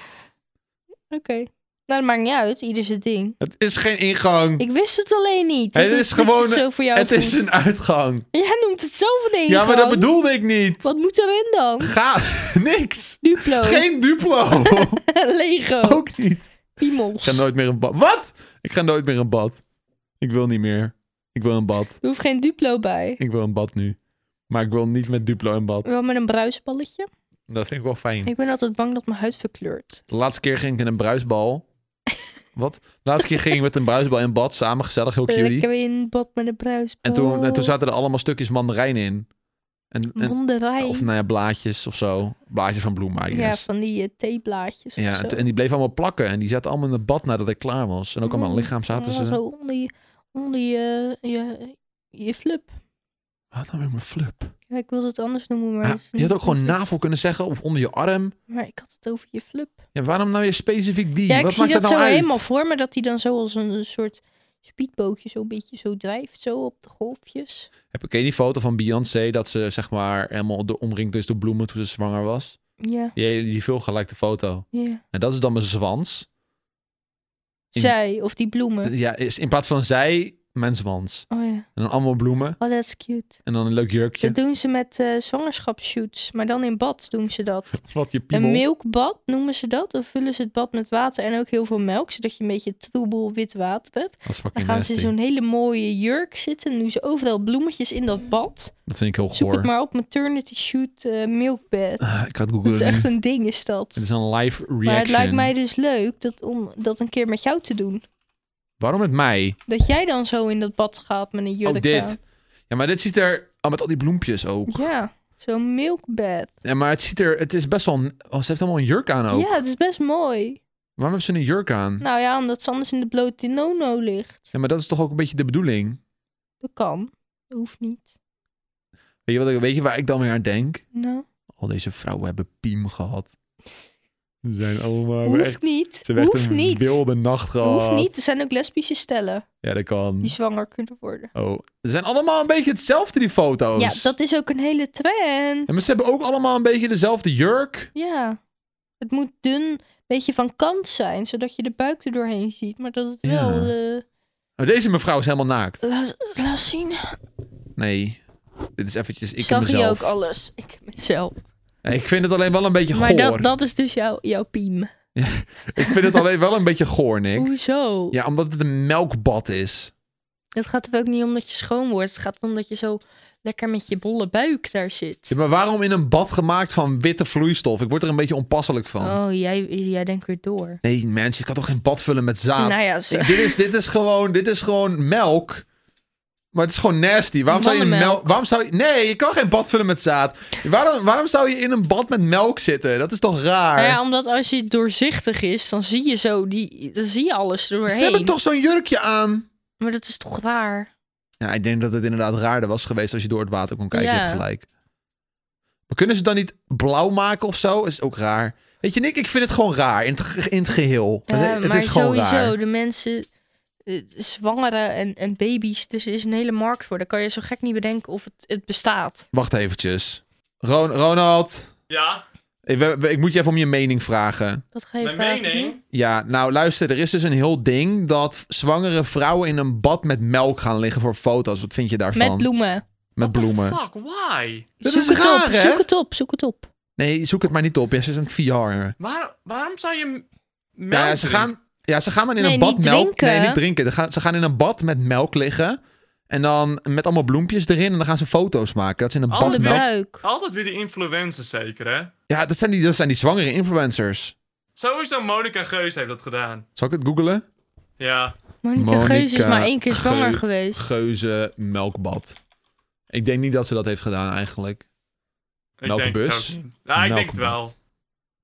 [SPEAKER 1] Oké. Nou, dat maakt niet uit. Ieder zijn ding.
[SPEAKER 2] Het is geen ingang.
[SPEAKER 1] Ik wist het alleen niet.
[SPEAKER 2] Het
[SPEAKER 1] Dat-
[SPEAKER 2] is
[SPEAKER 1] dat je
[SPEAKER 2] gewoon-
[SPEAKER 1] zo voor jou
[SPEAKER 2] het is
[SPEAKER 1] voelt.
[SPEAKER 2] een uitgang.
[SPEAKER 1] Jij noemt het zelf een ingang.
[SPEAKER 2] Ja, maar dat bedoelde ik niet.
[SPEAKER 1] Wat moet erin dan? Oh.
[SPEAKER 2] Ga *laughs* niks.
[SPEAKER 1] Duplo.
[SPEAKER 2] Geen Duplo.
[SPEAKER 1] *laughs*
[SPEAKER 2] *laughs*
[SPEAKER 1] Lego.
[SPEAKER 2] ook niet. Ik
[SPEAKER 1] Piemels.
[SPEAKER 2] ga nooit meer een bad. Wat? Ik ga nooit meer een bad. Ik wil niet meer. Ik wil een bad.
[SPEAKER 1] Er hoeft geen Duplo bij.
[SPEAKER 2] Ik wil een bad nu. Maar ik wil niet met Duplo in bad.
[SPEAKER 1] Wel met een bruisballetje.
[SPEAKER 2] Dat vind ik wel fijn.
[SPEAKER 1] Ik ben altijd bang dat mijn huid verkleurt.
[SPEAKER 2] De laatste keer ging ik in een
[SPEAKER 1] *laughs*
[SPEAKER 2] bruisbal. Wat? De laatste keer ging ik met een bruisbal in bad samen, gezellig, heel
[SPEAKER 1] Lekker
[SPEAKER 2] cutie.
[SPEAKER 1] in bad met Eh, een bruisbal.
[SPEAKER 2] En toen, en toen zaten er allemaal stukjes mandarijn in. En, en,
[SPEAKER 1] Monderij.
[SPEAKER 2] of nou ja, blaadjes of zo. Blaadjes van bloemen, I
[SPEAKER 1] Ja,
[SPEAKER 2] guess.
[SPEAKER 1] van die eh, theeblaadjes
[SPEAKER 2] Ja,
[SPEAKER 1] of zo.
[SPEAKER 2] en, en die bleven allemaal plakken. En die zaten allemaal in het bad nadat ik klaar was. En ook allemaal aan mijn lichaam zaten
[SPEAKER 1] Allemaal
[SPEAKER 2] ze.
[SPEAKER 1] Mm. Zo onder je, onder je, eh, je, je flup.
[SPEAKER 2] Wat dan weer mijn flup?
[SPEAKER 1] Ja, ik wilde het anders noemen, maar...
[SPEAKER 2] Ja,
[SPEAKER 1] dat is
[SPEAKER 2] je had
[SPEAKER 1] niet
[SPEAKER 2] ook gewoon
[SPEAKER 1] logisch.
[SPEAKER 2] navel kunnen zeggen of onder je arm.
[SPEAKER 1] Maar ik had het over je flup.
[SPEAKER 2] Ja, waarom nou weer specifiek die?
[SPEAKER 1] Ja, ik
[SPEAKER 2] Wat
[SPEAKER 1] zie
[SPEAKER 2] maakt
[SPEAKER 1] dat,
[SPEAKER 2] dat nou
[SPEAKER 1] zo
[SPEAKER 2] uit?
[SPEAKER 1] helemaal voor me, dat hij dan zo als een soort speedbootje zo een beetje zo drijft, zo op de golfjes.
[SPEAKER 2] Heb ik die foto van Beyoncé dat ze zeg maar helemaal door- omringd is door bloemen toen ze zwanger was?
[SPEAKER 1] Ja,
[SPEAKER 2] Die, die veelgelekte foto.
[SPEAKER 1] ja.
[SPEAKER 2] En dat is dan mijn zwans. In- Eh,
[SPEAKER 1] Zij, of die bloemen.
[SPEAKER 2] Ja, is in plaats van zij, mijn zwans.
[SPEAKER 1] Oh ja,
[SPEAKER 2] En dan allemaal bloemen.
[SPEAKER 1] oh that's cute.
[SPEAKER 2] En dan een leuk jurkje.
[SPEAKER 1] Dat doen ze met eh zwangerschapsshoots, maar dan in bad doen ze dat.
[SPEAKER 2] *laughs* Wat je piemel.
[SPEAKER 1] Een milkbad noemen ze dat. Dan vullen ze het bad met water en ook heel veel melk, zodat je een beetje troebel wit water hebt.
[SPEAKER 2] Dat is
[SPEAKER 1] Dan
[SPEAKER 2] fucking
[SPEAKER 1] gaan ze in
[SPEAKER 2] nasty.
[SPEAKER 1] zo'n hele mooie jurk zitten en doen ze overal bloemetjes in dat bad.
[SPEAKER 2] Dat vind ik heel
[SPEAKER 1] Zoek het
[SPEAKER 2] goor.
[SPEAKER 1] maar op maternity shoot eh, milkbed.
[SPEAKER 2] Ah, ik had
[SPEAKER 1] Dat
[SPEAKER 2] het
[SPEAKER 1] is
[SPEAKER 2] googlen nu.
[SPEAKER 1] echt een ding, is dat.
[SPEAKER 2] Het is een live reaction.
[SPEAKER 1] Maar het lijkt mij dus leuk dat, om dat een keer met jou te doen.
[SPEAKER 2] Waarom met mij?
[SPEAKER 1] Dat jij dan zo in dat bad gaat met een jurk
[SPEAKER 2] Ook dit.
[SPEAKER 1] aan.
[SPEAKER 2] Ja, maar dit ziet er... Oh, met al die bloempjes ook.
[SPEAKER 1] Ja, zo'n milkbed.
[SPEAKER 2] Ja, maar het ziet er... Het is best wel... een- Oh, ze heeft helemaal een jurk aan ook.
[SPEAKER 1] Ja, het is best mooi.
[SPEAKER 2] Waarom heeft ze een jurk aan?
[SPEAKER 1] Nou ja, omdat ze anders in de blote nono ligt.
[SPEAKER 2] Ja, maar dat is toch ook een beetje de bedoeling?
[SPEAKER 1] Dat kan. Dat hoeft niet.
[SPEAKER 2] Weet je, wat, ik- weet je waar ik dan weer aan denk?
[SPEAKER 1] Nou,
[SPEAKER 2] Al deze vrouwen hebben piem gehad. Ze zijn allemaal
[SPEAKER 1] hoeft
[SPEAKER 2] echt...
[SPEAKER 1] niet.
[SPEAKER 2] Ze hebben echt
[SPEAKER 1] hoeft
[SPEAKER 2] een
[SPEAKER 1] niet.
[SPEAKER 2] wilde nacht gehad.
[SPEAKER 1] Hoeft niet. Er zijn ook lesbische stellen
[SPEAKER 2] Ja, dat kan.
[SPEAKER 1] die zwanger kunnen worden.
[SPEAKER 2] Oh, ze zijn allemaal een beetje hetzelfde, die foto's.
[SPEAKER 1] Ja, dat is ook een hele trend.
[SPEAKER 2] Oh, Ja, maar ze hebben ook allemaal een beetje dezelfde jurk.
[SPEAKER 1] Ja. Het moet dun, beetje van kant zijn, zodat je de buik er doorheen ziet. Maar dat het
[SPEAKER 2] Ja.
[SPEAKER 1] wel... eh,
[SPEAKER 2] Maar Oh, deze mevrouw is helemaal naakt.
[SPEAKER 1] laat, laat zien.
[SPEAKER 2] Nee, dit is eventjes ik
[SPEAKER 1] Zag
[SPEAKER 2] en
[SPEAKER 1] je
[SPEAKER 2] mezelf.
[SPEAKER 1] ook alles. Ik mezelf.
[SPEAKER 2] Ja, Eh, ik vind het alleen wel een beetje
[SPEAKER 1] Maar
[SPEAKER 2] goor.
[SPEAKER 1] dat, dat is dus jouw, jouw piem.
[SPEAKER 2] Ik vind het alleen wel een beetje goor, Nick.
[SPEAKER 1] Hoezo?
[SPEAKER 2] Ja, omdat het een melkbad is.
[SPEAKER 1] Het gaat er ook niet om dat je schoon wordt. Het gaat om dat je zo lekker met je bolle buik daar zit.
[SPEAKER 2] Ja, maar waarom in een bad gemaakt van witte vloeistof? Ik word er een beetje onpasselijk van.
[SPEAKER 1] Oh, jij, jij denkt weer door.
[SPEAKER 2] Nee, mensen, Ah, ik kan toch geen bad vullen met zaad?
[SPEAKER 1] Nou ja, zo.
[SPEAKER 2] Ik- dit, is, dit, is gewoon, dit is gewoon melk. Maar het is gewoon nasty. Waarom zou je
[SPEAKER 1] Mannenmelk.
[SPEAKER 2] melk... Waarom zou je... Nee, je kan geen bad vullen met zaad. Waarom, waarom zou je in een bad met melk zitten? Dat is toch raar?
[SPEAKER 1] Nou ja, omdat als je doorzichtig is, dan zie je zo die, dan zie je alles er doorheen.
[SPEAKER 2] Ze hebben toch zo'n jurkje aan?
[SPEAKER 1] Maar dat is toch raar?
[SPEAKER 2] Ja, ik denk dat het inderdaad raarder was geweest als je door het water kon kijken. Je hebt
[SPEAKER 1] Ja.
[SPEAKER 2] gelijk. Maar kunnen ze het dan niet blauw maken of zo? Is ook raar. Weet je, Nick, ik vind het gewoon raar in het, ge- in het geheel.
[SPEAKER 1] Ja,
[SPEAKER 2] het, het
[SPEAKER 1] Eh, maar
[SPEAKER 2] is gewoon
[SPEAKER 1] sowieso,
[SPEAKER 2] raar.
[SPEAKER 1] de mensen, eh, zwangeren en, en baby's, dus er is een hele markt voor. Daar kan je zo gek niet bedenken of het, het bestaat.
[SPEAKER 2] Wacht eventjes. Ron- Ronald,
[SPEAKER 3] Ja,
[SPEAKER 2] ik, we- we- ik moet je even om je mening vragen.
[SPEAKER 1] Wat ga je
[SPEAKER 3] mijn
[SPEAKER 1] vragen nu?
[SPEAKER 3] mening.
[SPEAKER 2] Ja, nou luister, er is dus een heel ding dat zwangere vrouwen in een bad met melk gaan liggen voor foto's. Wat vind je daarvan?
[SPEAKER 1] Met bloemen.
[SPEAKER 2] Met
[SPEAKER 3] What the
[SPEAKER 2] bloemen.
[SPEAKER 3] Fuck, why?
[SPEAKER 2] Dat
[SPEAKER 1] zoek
[SPEAKER 2] is
[SPEAKER 1] het
[SPEAKER 2] raar,
[SPEAKER 1] op,
[SPEAKER 2] hè?
[SPEAKER 1] zoek het op, zoek het op.
[SPEAKER 2] Nee, zoek het maar niet op. Ja, ze is een VR.
[SPEAKER 3] Waar, waarom zou je m- melk
[SPEAKER 2] Nou ja, ze
[SPEAKER 3] drinken?
[SPEAKER 2] gaan, ja, ze gaan dan in
[SPEAKER 1] Nee,
[SPEAKER 2] een bad
[SPEAKER 1] niet
[SPEAKER 2] melk.
[SPEAKER 1] drinken.
[SPEAKER 2] Nee, niet drinken. Ze gaan, ze gaan in een bad met melk liggen. En dan met allemaal bloempjes erin. En dan gaan ze foto's maken. Dat is in een
[SPEAKER 3] Alle
[SPEAKER 2] bad
[SPEAKER 1] Van de
[SPEAKER 3] melk.
[SPEAKER 2] melk.
[SPEAKER 1] bruik.
[SPEAKER 3] Altijd weer die influencers zeker, hè?
[SPEAKER 2] Ja, dat zijn, die, dat zijn die zwangere influencers.
[SPEAKER 3] Sowieso Monica Geus heeft dat gedaan.
[SPEAKER 2] Zal ik het googelen?
[SPEAKER 3] Ja.
[SPEAKER 1] Monika
[SPEAKER 2] Monica
[SPEAKER 1] Geus is maar één keer zwanger
[SPEAKER 2] Geu-
[SPEAKER 1] geweest.
[SPEAKER 2] Geuze melkbad. Ik denk niet dat ze dat heeft gedaan eigenlijk.
[SPEAKER 3] Ik
[SPEAKER 2] Welke
[SPEAKER 3] denk
[SPEAKER 2] bus?
[SPEAKER 3] Het ook niet. Ja, ik denk het wel.
[SPEAKER 2] Melkbad.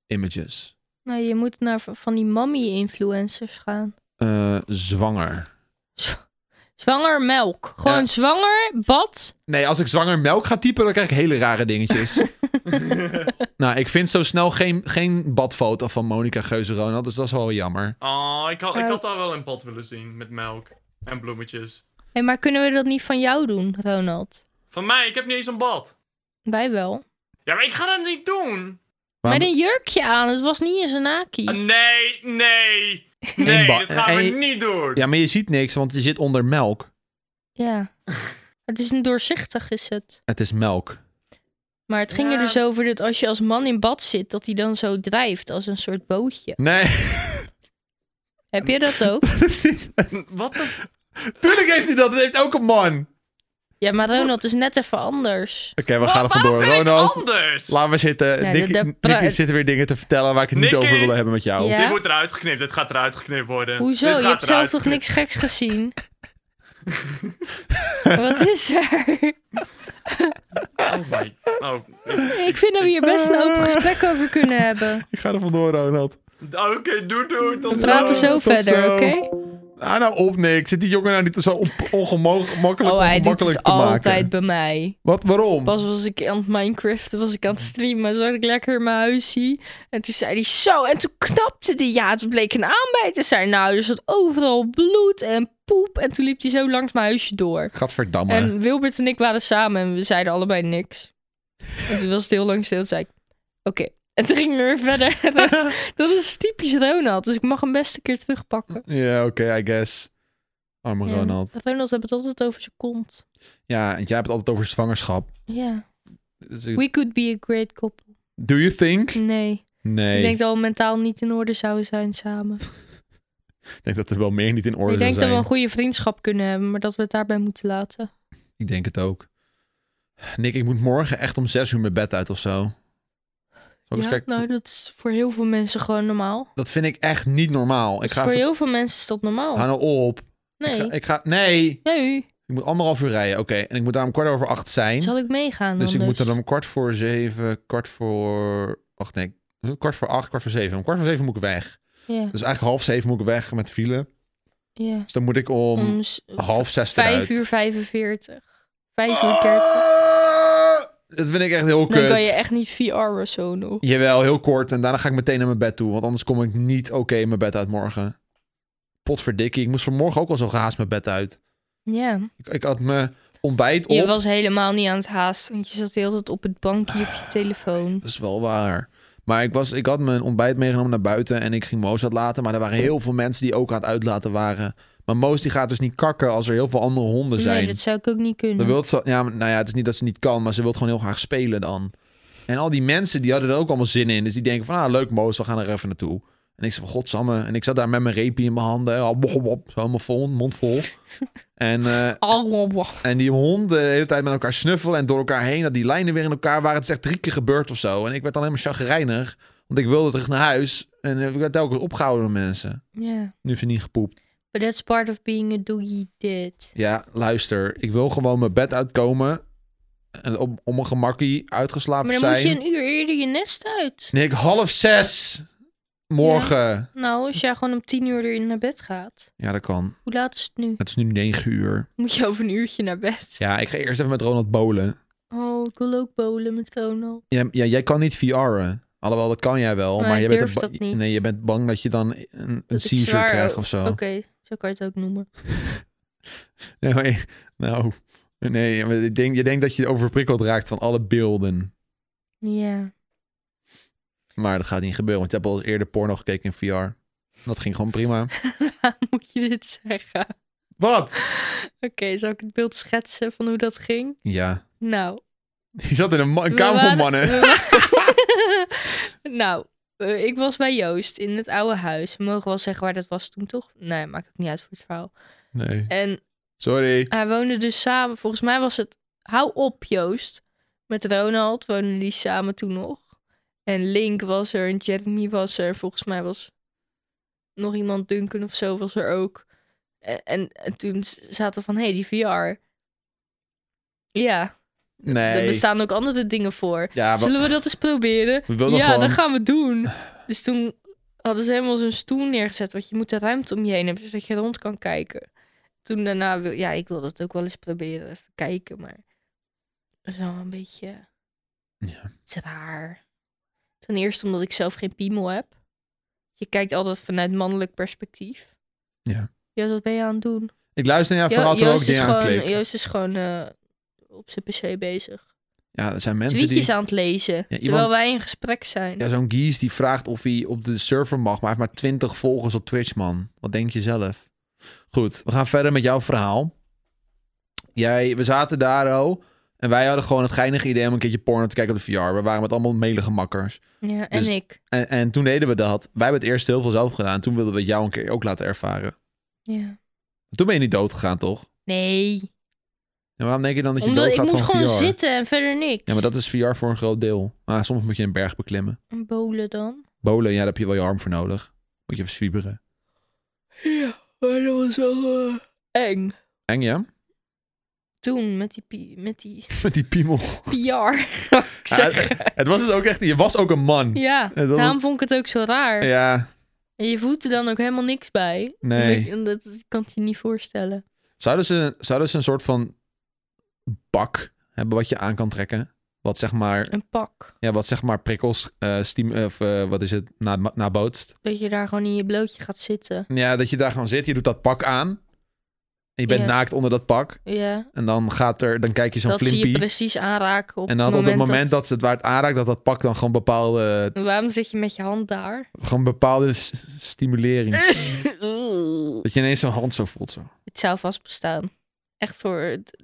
[SPEAKER 2] Images.
[SPEAKER 1] Nou, je moet naar v- van die mommy-influencers gaan.
[SPEAKER 2] Eh, zwanger.
[SPEAKER 1] Zwanger melk. Gewoon
[SPEAKER 2] Ja.
[SPEAKER 1] zwanger, bad.
[SPEAKER 2] Nee, als ik zwanger melk ga typen, dan krijg ik hele rare
[SPEAKER 1] *laughs*
[SPEAKER 2] dingetjes. nou, ik vind zo snel geen, geen badfoto van Monica Geuze Ronald. Dus dat is wel jammer.
[SPEAKER 3] Oh, ik had, ik
[SPEAKER 1] Oh.
[SPEAKER 3] had daar wel een pot willen zien met melk en bloemetjes.
[SPEAKER 1] Hé, maar kunnen we dat niet van jou doen, Ronald?
[SPEAKER 3] Van mij, ik heb niet eens een bad.
[SPEAKER 1] Wij wel.
[SPEAKER 3] Ja, maar ik ga dat niet doen.
[SPEAKER 2] Waarom-
[SPEAKER 1] Met een jurkje aan, het was niet eens een
[SPEAKER 3] Ah,
[SPEAKER 1] naki.
[SPEAKER 3] nee, nee. Nee,
[SPEAKER 2] Eén ba-
[SPEAKER 3] dat gaan we
[SPEAKER 2] één-
[SPEAKER 3] niet doen.
[SPEAKER 2] Ja, maar je ziet niks, want je zit onder melk.
[SPEAKER 1] Ja. Het is een doorzichtig, is het.
[SPEAKER 2] Het is melk.
[SPEAKER 1] Maar het ging er
[SPEAKER 3] Ja.
[SPEAKER 1] dus over dat als je als man in bad zit, dat hij dan zo drijft als een soort bootje.
[SPEAKER 2] Nee. *laughs*
[SPEAKER 1] Heb je dat ook?
[SPEAKER 3] Wat de...
[SPEAKER 2] Tuurlijk heeft hij dat. Het heeft ook een man. Oké,
[SPEAKER 1] Ja, maar Ronald is net even anders.
[SPEAKER 2] we gaan er
[SPEAKER 3] Waarom
[SPEAKER 2] vandoor.
[SPEAKER 3] ben ik
[SPEAKER 2] Ronald,
[SPEAKER 3] anders?
[SPEAKER 2] laat maar zitten.
[SPEAKER 1] Ja,
[SPEAKER 2] Nicky,
[SPEAKER 1] de- de pra-
[SPEAKER 2] Nicky zit weer dingen te vertellen waar ik het niet
[SPEAKER 3] Nicky!
[SPEAKER 2] over wilde hebben met jou.
[SPEAKER 1] Ja.
[SPEAKER 3] Dit wordt eruit geknipt, dit gaat eruit geknipt worden.
[SPEAKER 1] Hoezo?
[SPEAKER 3] Dit
[SPEAKER 1] Je
[SPEAKER 3] gaat
[SPEAKER 1] hebt zelf
[SPEAKER 3] eruit
[SPEAKER 1] toch
[SPEAKER 3] geknipt.
[SPEAKER 1] niks geks
[SPEAKER 3] *laughs*
[SPEAKER 1] gezien? Wat is er?
[SPEAKER 3] Oh my... Oh, ik-
[SPEAKER 1] Ik vind dat we hier best een open gesprek over kunnen hebben.
[SPEAKER 2] Ik ga er vandoor, Ronald.
[SPEAKER 3] Ah, Oké, doe, doe. Tot eh,
[SPEAKER 1] We praten
[SPEAKER 3] zo.
[SPEAKER 1] zo
[SPEAKER 2] tot
[SPEAKER 1] verder,
[SPEAKER 2] zo.
[SPEAKER 1] oké?
[SPEAKER 2] Ah, nou, of niks. Zit die jongen nou niet zo on- ongemakkelijk
[SPEAKER 1] Oh, hij doet
[SPEAKER 2] ongemakkelijk
[SPEAKER 1] het
[SPEAKER 2] te maken?
[SPEAKER 1] altijd bij mij.
[SPEAKER 2] Wat, waarom?
[SPEAKER 1] Pas was ik aan het Minecraften, was ik aan het streamen, zat ik lekker in mijn huisie. En toen zei hij zo, en toen knapte hij, ja, het bleek een aanbijt te zijn. Nou, er zat overal bloed en poep. En toen liep hij zo langs mijn huisje door.
[SPEAKER 2] Gadverdamme.
[SPEAKER 1] En Wilbert en ik waren samen en we zeiden allebei niks. En toen was het heel lang stil, toen zei ik, oké. En toen gingen we weer verder. *laughs* Dat is typisch Ronald, dus ik mag hem best een keer terugpakken.
[SPEAKER 2] Ja, oké, I guess. Arme
[SPEAKER 1] Ja,
[SPEAKER 2] Ronald.
[SPEAKER 1] Ronald heeft het altijd over zijn kont.
[SPEAKER 2] Ja, en jij hebt het altijd over zwangerschap.
[SPEAKER 1] Ja.
[SPEAKER 2] Dus ik-
[SPEAKER 1] We could be a great couple.
[SPEAKER 2] Do you think?
[SPEAKER 1] Nee.
[SPEAKER 2] Nee.
[SPEAKER 1] Ik denk dat we mentaal niet in orde zouden zijn samen.
[SPEAKER 2] Ik denk dat er wel meer niet in orde
[SPEAKER 1] ik denk
[SPEAKER 2] zou zijn.
[SPEAKER 1] dat we een goede vriendschap kunnen hebben, maar dat we het daarbij moeten laten.
[SPEAKER 2] Ik denk het ook. Nick, ik moet morgen echt om zes uur mijn bed uit of zo. Zal ik eens
[SPEAKER 1] ja,
[SPEAKER 2] kijken?
[SPEAKER 1] nou, dat is voor heel veel mensen gewoon normaal.
[SPEAKER 2] Dat vind ik echt niet normaal. Ik
[SPEAKER 1] Dus
[SPEAKER 2] ga
[SPEAKER 1] voor
[SPEAKER 2] even...
[SPEAKER 1] heel veel mensen is dat normaal.
[SPEAKER 2] Hou nou op.
[SPEAKER 1] nee.
[SPEAKER 2] Ik, ga, ik ga- Nee.
[SPEAKER 1] Nee.
[SPEAKER 2] Ik moet anderhalf uur rijden. Oké. En ik moet daar om kwart over acht zijn.
[SPEAKER 1] Zal ik meegaan
[SPEAKER 2] dus ik moet
[SPEAKER 1] anders?
[SPEAKER 2] dan om kwart voor zeven, kwart voor... Wacht, nee. Huh, Kwart voor acht, kwart voor zeven. Om kwart voor zeven moet ik weg.
[SPEAKER 1] Ja,
[SPEAKER 2] Dus eigenlijk half zeven moet ik weg met file.
[SPEAKER 1] ja.
[SPEAKER 2] Dus dan moet ik om,
[SPEAKER 1] Om s-
[SPEAKER 2] half zes eruit.
[SPEAKER 1] 5 Mm. uur 45. 5 uur 30.
[SPEAKER 2] Ah! Dat vind ik echt heel kut.
[SPEAKER 1] Dan kan je echt niet VR of zo nog.
[SPEAKER 2] Jawel, heel kort. En daarna ga ik meteen naar mijn bed toe. Want anders kom ik niet oké in mijn bed uit morgen. Potverdikkie. Ik moest vanmorgen ook al zo gehaast mijn bed uit.
[SPEAKER 1] Ja.
[SPEAKER 2] Ik, ik had mijn ontbijt op.
[SPEAKER 1] Je was helemaal niet aan het haasten, want je zat de hele tijd op het bankje op je telefoon.
[SPEAKER 2] Dat is wel waar. Maar ik, was, ik had mijn ontbijt meegenomen naar buiten. En ik ging Moos uitlaten. Maar er waren heel veel mensen die ook aan het uitlaten waren. Maar Moos die gaat dus niet kakken als er heel veel andere honden zijn.
[SPEAKER 1] Nee, dat zou ik ook niet kunnen.
[SPEAKER 2] Dan wil ze, ja, maar- nou ja, het is niet dat ze niet kan, maar ze wil gewoon heel graag spelen dan. En al die mensen, die hadden er ook allemaal zin in. Dus die denken van, ah, leuk Moos, we gaan er even naartoe. En ik zei van, godsamme. En ik zat daar met mijn reepie in mijn handen. hè, al bop, bop, bop, zo helemaal vol, mond vol. En, eh,
[SPEAKER 1] Allemaal.
[SPEAKER 2] en die honden de hele tijd met elkaar snuffelen en door elkaar heen. Dat die lijnen weer in elkaar waren. Het is echt drie keer gebeurd of zo. En ik werd dan helemaal chagrijnig. Want ik wilde terug naar huis. En eh, ik werd telkens opgehouden door mensen.
[SPEAKER 1] Ja.
[SPEAKER 2] Nu heeft ze niet gepoept.
[SPEAKER 1] But that's part of being a doggy dit.
[SPEAKER 2] Ja, luister. Ik wil gewoon mijn bed uitkomen. En om, om mijn gemakkie uitgeslapen
[SPEAKER 1] Maar dan moet
[SPEAKER 2] zijn.
[SPEAKER 1] je een uur eerder je nest uit.
[SPEAKER 2] Nick, half zes morgen. Ja.
[SPEAKER 1] Nou, als jij gewoon om tien uur erin naar bed gaat.
[SPEAKER 2] dat kan.
[SPEAKER 1] Hoe laat is het nu?
[SPEAKER 2] Het is nu negen uur.
[SPEAKER 1] Moet je over een uurtje naar bed?
[SPEAKER 2] Ja, ik ga eerst even met Ronald bowlen.
[SPEAKER 1] Oh, ik wil ook bowlen met Ronald.
[SPEAKER 2] Ja, ja, jij kan niet VR'en. Alhoewel, dat kan jij wel.
[SPEAKER 1] Maar
[SPEAKER 2] maar
[SPEAKER 1] ik
[SPEAKER 2] je bent
[SPEAKER 1] durf
[SPEAKER 2] ba-
[SPEAKER 1] dat niet.
[SPEAKER 2] Nee, je bent bang dat je dan een, een
[SPEAKER 1] Dat ik
[SPEAKER 2] seizure
[SPEAKER 1] zwaar-
[SPEAKER 2] krijgt of zo.
[SPEAKER 1] Oké, zo kan je het ook noemen.
[SPEAKER 2] Nee, maar- nou, nee, maar ik denk, je denkt dat je overprikkeld raakt van alle beelden.
[SPEAKER 1] Ja. *laughs*
[SPEAKER 2] Maar dat gaat niet gebeuren, want je hebt al eerder porno gekeken in VR. Dat ging gewoon prima.
[SPEAKER 1] Waarom moet je dit zeggen? Oké,
[SPEAKER 2] Wat?
[SPEAKER 1] zal ik het beeld schetsen van hoe dat ging?
[SPEAKER 2] Ja,
[SPEAKER 1] Nou.
[SPEAKER 2] je zat in een, ma- een
[SPEAKER 1] we
[SPEAKER 2] kamer vol
[SPEAKER 1] waren-
[SPEAKER 2] mannen.
[SPEAKER 1] we waren- *laughs* nou, eh, ik was bij Joost in het oude huis. We mogen wel zeggen waar dat was toen, toch? Nee, maakt ook niet uit voor het verhaal.
[SPEAKER 2] Nee,
[SPEAKER 1] En
[SPEAKER 2] sorry.
[SPEAKER 1] hij woonde dus samen. Volgens mij was het... Hou op, Joost. Met Ronald woonden die samen toen nog. En Link was er en Jeremy was er. Volgens mij was nog iemand, Duncan of zo, was er ook. En, en, en toen s- zaten we van, hé, hey, die VR. Ja, er
[SPEAKER 2] Nee,
[SPEAKER 1] bestaan ook andere dingen voor.
[SPEAKER 2] ja, we,
[SPEAKER 1] Zullen we dat eens proberen?
[SPEAKER 2] we
[SPEAKER 1] Ja,
[SPEAKER 2] wilden gewoon...
[SPEAKER 1] dat gaan we doen. Dus toen hadden ze helemaal zo'n stoel neergezet. Want je moet de ruimte om je heen hebben, zodat je rond kan kijken. Toen daarna, wil, ja, ik wil dat ook wel eens proberen. Even kijken, maar dat is allemaal een beetje
[SPEAKER 2] Ja.
[SPEAKER 1] het is raar. Ten eerste omdat ik zelf geen piemel heb. Je kijkt altijd vanuit mannelijk perspectief.
[SPEAKER 2] Ja.
[SPEAKER 1] Joost, wat ben je aan het doen?
[SPEAKER 2] Ik luister naar
[SPEAKER 1] Jo-
[SPEAKER 2] jou, vooral terwijl ik
[SPEAKER 1] Joost, is
[SPEAKER 2] dingen aanklik.
[SPEAKER 1] gewoon, Joost is gewoon eh, op zijn pc bezig.
[SPEAKER 2] Ja, er zijn mensen
[SPEAKER 1] Tweetjes
[SPEAKER 2] die...
[SPEAKER 1] aan het lezen, terwijl
[SPEAKER 2] iemand-
[SPEAKER 1] wij in gesprek zijn.
[SPEAKER 2] Ja, zo'n Gies die vraagt of hij op de server mag, maar hij heeft maar 20 volgers op Twitch, man. Wat denk je zelf? Goed, we gaan verder met jouw verhaal. Jij, we zaten daar, oh, en wij hadden gewoon het geinige idee om een keertje porno te kijken op de VR. We waren met allemaal melige makkers.
[SPEAKER 1] ja en
[SPEAKER 2] dus-
[SPEAKER 1] ik.
[SPEAKER 2] En, en toen deden we dat. Wij hebben het eerst heel veel zelf gedaan. Toen wilden we het jou een keer ook laten ervaren.
[SPEAKER 1] Ja.
[SPEAKER 2] Toen ben je niet dood gegaan, toch?
[SPEAKER 1] Nee.
[SPEAKER 2] En waarom denk je dan dat je
[SPEAKER 1] Omdat ik
[SPEAKER 2] doodgaat
[SPEAKER 1] moet
[SPEAKER 2] van
[SPEAKER 1] gewoon
[SPEAKER 2] VR?
[SPEAKER 1] zitten en verder niks.
[SPEAKER 2] Ja, maar dat is VR voor een groot deel. Maar soms moet je een berg beklimmen.
[SPEAKER 1] En bolen dan?
[SPEAKER 2] Bolen, ja, daar heb je wel je arm voor nodig. Moet je even zwieberen.
[SPEAKER 1] Ja, maar dat was wel eh, eng.
[SPEAKER 2] Eng, ja? *laughs*
[SPEAKER 1] Toen, met die, pi- met die
[SPEAKER 2] Met die piemel.
[SPEAKER 1] PR. wou ik zeggen.
[SPEAKER 2] Het was dus ook echt, je was ook een man.
[SPEAKER 1] ja,
[SPEAKER 2] dat was-
[SPEAKER 1] daarom vond ik het ook zo raar.
[SPEAKER 2] Ja,
[SPEAKER 1] En je voelt er dan ook helemaal niks bij.
[SPEAKER 2] Nee.
[SPEAKER 1] Omdat je- omdat- Dat kan ik je niet voorstellen.
[SPEAKER 2] zouden ze, zouden ze een soort van bak hebben wat je aan kan trekken? Wat zeg maar,
[SPEAKER 1] Een pak.
[SPEAKER 2] ja, wat zeg maar prikkels, eh steam, of eh, wat is het, na- nabootst.
[SPEAKER 1] Dat je daar gewoon in je blootje gaat zitten.
[SPEAKER 2] ja, dat je daar gewoon zit, je doet dat pak aan. En je bent
[SPEAKER 1] Ja.
[SPEAKER 2] naakt onder dat pak.
[SPEAKER 1] Ja,
[SPEAKER 2] En dan gaat er, dan kijk je zo'n
[SPEAKER 1] dat zie je
[SPEAKER 2] flimpie.
[SPEAKER 1] precies aanraken op
[SPEAKER 2] En dan
[SPEAKER 1] het
[SPEAKER 2] op het
[SPEAKER 1] moment,
[SPEAKER 2] moment dat ze het waar het aanraakt, dat dat pak dan gewoon bepaalde,
[SPEAKER 1] Waarom zit je met je hand
[SPEAKER 2] *laughs*
[SPEAKER 1] daar? *laughs*
[SPEAKER 2] gewoon bepaalde s- stimulering. dat je ineens zo'n hand zo voelt. Zo.
[SPEAKER 1] Het zou vast bestaan. Echt voor... het-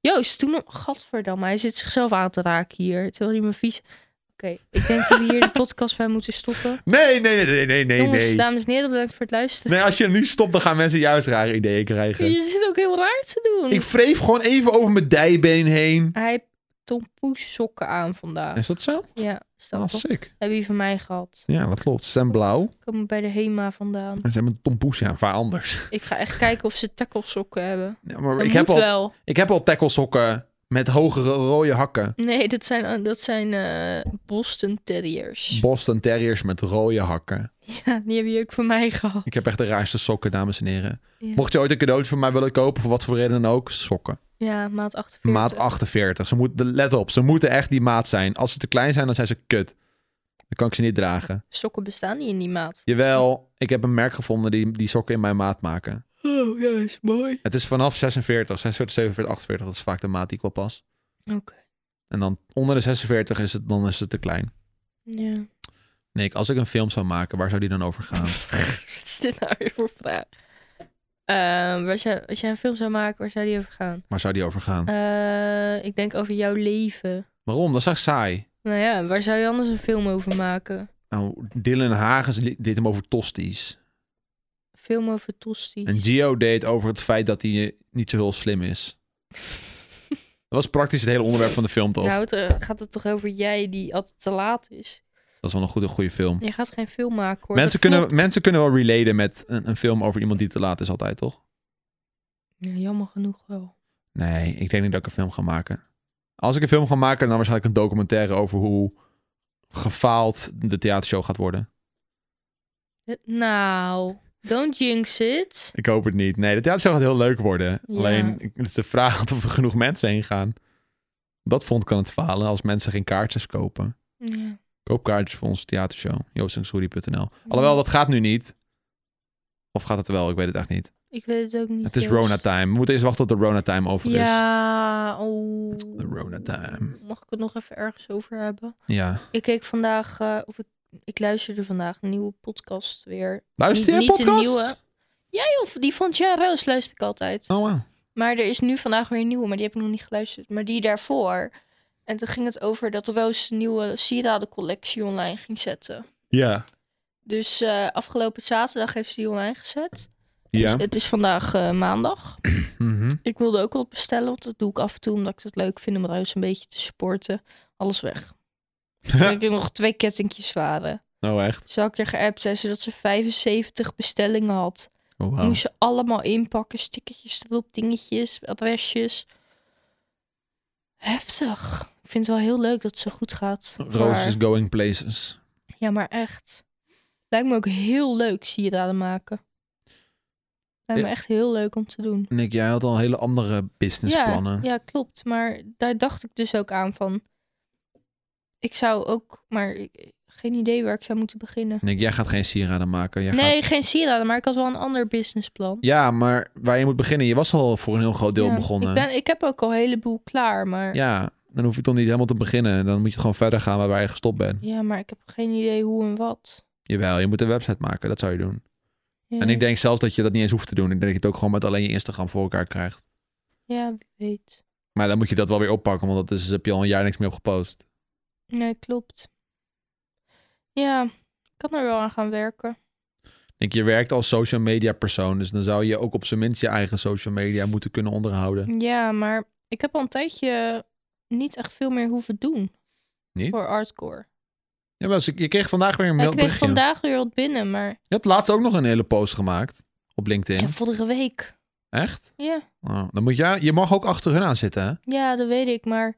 [SPEAKER 1] Joost, toen... Gadverdamme, hij zit zichzelf aan te raken hier. Terwijl hij me vies... Oké, ik denk dat we
[SPEAKER 2] *laughs*
[SPEAKER 1] hier de podcast bij moeten stoppen.
[SPEAKER 2] Nee, nee, nee, nee, nee, nee.
[SPEAKER 1] Jongens,
[SPEAKER 2] nee.
[SPEAKER 1] dames en heren, bedankt voor het luisteren.
[SPEAKER 2] Nee, als je hem nu stopt, dan gaan mensen juist rare ideeën krijgen.
[SPEAKER 1] Je zit ook heel raar te doen.
[SPEAKER 2] Ik wreef gewoon even over mijn dijbeen heen.
[SPEAKER 1] Hij heeft tompoes sokken aan vandaag.
[SPEAKER 2] Is dat zo?
[SPEAKER 1] Ja, is dat
[SPEAKER 2] Ah,
[SPEAKER 1] toch?
[SPEAKER 2] sick.
[SPEAKER 1] Heb je van mij gehad.
[SPEAKER 2] Ja, dat klopt. Ze zijn blauw.
[SPEAKER 1] Komen bij de HEMA vandaan.
[SPEAKER 2] En ze hebben een tompoes, ja, waar anders.
[SPEAKER 1] Ik ga echt kijken of ze tacklesokken hebben.
[SPEAKER 2] Ja, maar
[SPEAKER 1] Dat
[SPEAKER 2] ik,
[SPEAKER 1] moet
[SPEAKER 2] heb al,
[SPEAKER 1] wel.
[SPEAKER 2] ik heb al tacklesokken met hogere rode hakken.
[SPEAKER 1] Nee, dat zijn, dat zijn eh, Boston Terriers.
[SPEAKER 2] Boston Terriers met rode hakken.
[SPEAKER 1] ja, die heb je ook van mij gehad.
[SPEAKER 2] Ik heb echt de raarste sokken, dames en heren.
[SPEAKER 1] Ja.
[SPEAKER 2] Mocht je ooit een cadeautje van mij willen kopen, voor wat voor reden dan ook, sokken.
[SPEAKER 1] Ja, maat 48.
[SPEAKER 2] Maat 48. Ze moeten, let op, ze moeten echt die maat zijn. Als ze te klein zijn, dan zijn ze kut. Dan kan ik ze niet dragen.
[SPEAKER 1] Sokken bestaan niet in die maat.
[SPEAKER 2] Jawel, ik heb een merk gevonden die, die sokken in mijn maat maken.
[SPEAKER 1] Oh, ja, is mooi.
[SPEAKER 2] Het is vanaf 46, 46, 47, 48, dat is vaak de maat die ik wel pas.
[SPEAKER 1] Oké.
[SPEAKER 2] En dan onder de 46 is het, dan is het te klein.
[SPEAKER 1] Ja. *laughs*
[SPEAKER 2] Nee, als ik een film zou maken, waar zou die dan over gaan?
[SPEAKER 1] Wat is dit nou weer voor vraag? Ehm, waar zou, als jij een film zou maken, waar zou die over gaan?
[SPEAKER 2] Waar zou die over gaan?
[SPEAKER 1] Eh, ik denk over jouw leven.
[SPEAKER 2] Waarom? Dat is echt saai.
[SPEAKER 1] Nou ja, waar zou je anders een film over maken?
[SPEAKER 2] Nou, Dylan Hagens li- deed hem over tosties.
[SPEAKER 1] Een film over Tosti.
[SPEAKER 2] En Gio deed over het feit dat hij eh, niet zo heel slim
[SPEAKER 1] *laughs*
[SPEAKER 2] is. Dat was praktisch het hele onderwerp van de film, toch?
[SPEAKER 1] Nou, het, eh, gaat het toch over jij die altijd te laat is?
[SPEAKER 2] Dat is wel een goede, goede film.
[SPEAKER 1] Je gaat geen film maken hoor.
[SPEAKER 2] mensen,
[SPEAKER 1] Dat
[SPEAKER 2] kunnen,
[SPEAKER 1] klopt.
[SPEAKER 2] mensen kunnen wel relaten met een, een film over iemand die te laat is altijd, toch?
[SPEAKER 1] Ja, jammer genoeg wel.
[SPEAKER 2] Nee, ik denk niet dat ik een film ga maken. Als ik een film ga maken, dan waarschijnlijk een documentaire over hoe gefaald de theatershow gaat worden.
[SPEAKER 1] Eh, Nou, don't jinx it.
[SPEAKER 2] Ik hoop het niet. Nee, de theatershow gaat heel leuk worden.
[SPEAKER 1] Ja.
[SPEAKER 2] Alleen, ik- het is de vraag *laughs* of er genoeg mensen heen gaan. Dat vond kan het falen als mensen geen kaartjes kopen.
[SPEAKER 1] Ja.
[SPEAKER 2] Koop kaartjes voor onze theatershow. joostensuri.nl Alhoewel, dat gaat nu niet. Of gaat het wel? Ik weet het echt niet.
[SPEAKER 1] Ik weet het ook niet.
[SPEAKER 2] Het is
[SPEAKER 1] Jos.
[SPEAKER 2] Rona time. We moeten eerst wachten tot de Rona time over is.
[SPEAKER 1] Ja, oh.
[SPEAKER 2] De Rona time.
[SPEAKER 1] Mag ik het nog even ergens over hebben?
[SPEAKER 2] Ja.
[SPEAKER 1] Ik keek vandaag, eh, of ik, ik luisterde vandaag een nieuwe podcast weer.
[SPEAKER 2] Luister je
[SPEAKER 1] Niet- niet de
[SPEAKER 2] podcast?
[SPEAKER 1] nieuwe. Ja joh, die van Jan Roos luister ik altijd.
[SPEAKER 2] Oh, wow.
[SPEAKER 1] Maar er is nu vandaag weer een nieuwe, maar die heb ik nog niet geluisterd. Maar die daarvoor. En toen ging het over dat Roos een nieuwe sieradencollectie online ging zetten.
[SPEAKER 2] Ja.
[SPEAKER 1] Dus eh, afgelopen zaterdag heeft ze die online gezet.
[SPEAKER 2] Ja.
[SPEAKER 1] Dus het is vandaag eh, maandag.
[SPEAKER 2] Mhm.
[SPEAKER 1] Ik wilde ook wat bestellen, want dat doe ik af en toe omdat ik het leuk vind om Roos een beetje te supporten. Alles
[SPEAKER 2] *laughs*
[SPEAKER 1] weg. En ik heb nog twee kettingjes waren.
[SPEAKER 2] Oh, echt?
[SPEAKER 1] Dus had ik er geappt, zei ze dat ze 75 bestellingen had.
[SPEAKER 2] Oh,
[SPEAKER 1] Ik
[SPEAKER 2] wauw.
[SPEAKER 1] Moest ze allemaal inpakken, stickertjes erop, dingetjes, adresjes. Heftig. Ik vind het wel heel leuk dat het zo goed gaat.
[SPEAKER 2] Roos is
[SPEAKER 1] Maar-
[SPEAKER 2] going places.
[SPEAKER 1] Ja, maar echt. Lijkt me ook heel leuk sieraden maken. Lijkt me
[SPEAKER 2] Ja.
[SPEAKER 1] echt heel leuk om te doen.
[SPEAKER 2] Nick, jij had al hele andere businessplannen.
[SPEAKER 1] Ja, ja, klopt. Maar daar dacht ik dus ook aan van. Ik zou ook, maar ik- geen idee waar ik zou moeten beginnen.
[SPEAKER 2] Nick, jij gaat geen sieraden maken. Jij gaat...
[SPEAKER 1] Nee, geen sieraden, maar ik had wel een ander businessplan.
[SPEAKER 2] Ja, maar waar je moet beginnen. Je was al voor een heel groot deel
[SPEAKER 1] Ja,
[SPEAKER 2] begonnen.
[SPEAKER 1] Ik, ben, ik heb ook al een heleboel klaar, maar...
[SPEAKER 2] Ja, dan hoef je toch niet helemaal te beginnen. Dan moet je gewoon verder gaan waar je gestopt bent.
[SPEAKER 1] Ja, maar ik heb geen idee hoe en wat.
[SPEAKER 2] Jawel, je moet een website maken. Dat zou je doen.
[SPEAKER 1] Ja,
[SPEAKER 2] En ik denk zelfs dat je dat niet eens hoeft te doen. Ik denk dat je het ook gewoon met alleen je Instagram voor elkaar krijgt.
[SPEAKER 1] ja, wie weet.
[SPEAKER 2] Maar dan moet je dat wel weer oppakken, want dat is, heb je al een jaar niks meer op gepost.
[SPEAKER 1] Nee, klopt. Ja, ik kan er wel aan gaan werken.
[SPEAKER 2] Nick, je werkt als social media persoon, dus dan zou je ook op zijn minst je eigen social media moeten kunnen onderhouden.
[SPEAKER 1] Ja, maar ik heb al een tijdje niet echt veel meer hoeven doen
[SPEAKER 2] Niet?
[SPEAKER 1] voor Artcore.
[SPEAKER 2] Ja, maar als ik- je kreeg vandaag weer een
[SPEAKER 1] Ik
[SPEAKER 2] mail.
[SPEAKER 1] kreeg
[SPEAKER 2] berichtje.
[SPEAKER 1] vandaag weer wat binnen, maar...
[SPEAKER 2] Je hebt laatst ook nog een hele post gemaakt op LinkedIn.
[SPEAKER 1] Ja, vorige week.
[SPEAKER 2] Echt?
[SPEAKER 1] Ja,
[SPEAKER 2] Oh, dan moet je, je mag ook achter hun aan zitten, hè?
[SPEAKER 1] ja, dat weet ik, maar...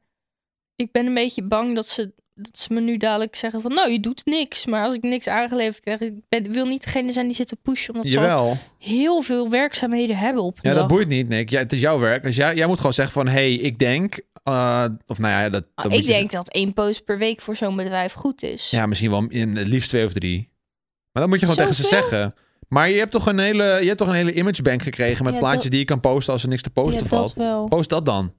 [SPEAKER 1] Ik ben een beetje bang dat ze, dat ze me nu dadelijk zeggen van... Nou, je doet niks, maar als ik niks aangeleverd krijg... Ik ben, wil niet degene zijn die zit te pushen, omdat ze al
[SPEAKER 2] Jawel.
[SPEAKER 1] heel veel werkzaamheden hebben op een
[SPEAKER 2] Ja, dat
[SPEAKER 1] dag.
[SPEAKER 2] boeit niet, Nick. Ja, het is jouw werk. Dus jij, jij moet gewoon zeggen van, hé, hey, ik denk... eh, of nou ja, dat, dat
[SPEAKER 1] Ah,
[SPEAKER 2] moet
[SPEAKER 1] ik
[SPEAKER 2] je-
[SPEAKER 1] denk dat één post per week voor zo'n bedrijf goed is.
[SPEAKER 2] Ja, misschien wel in, het liefst twee of drie. Maar dan moet je gewoon tegen ze
[SPEAKER 1] Zoveel?
[SPEAKER 2] zeggen. Maar je hebt toch een hele, je hebt toch een hele imagebank gekregen met
[SPEAKER 1] Ja,
[SPEAKER 2] plaatjes
[SPEAKER 1] dat-
[SPEAKER 2] die je kan posten als er niks te posten
[SPEAKER 1] Ja,
[SPEAKER 2] valt.
[SPEAKER 1] dat wel.
[SPEAKER 2] Post dat dan.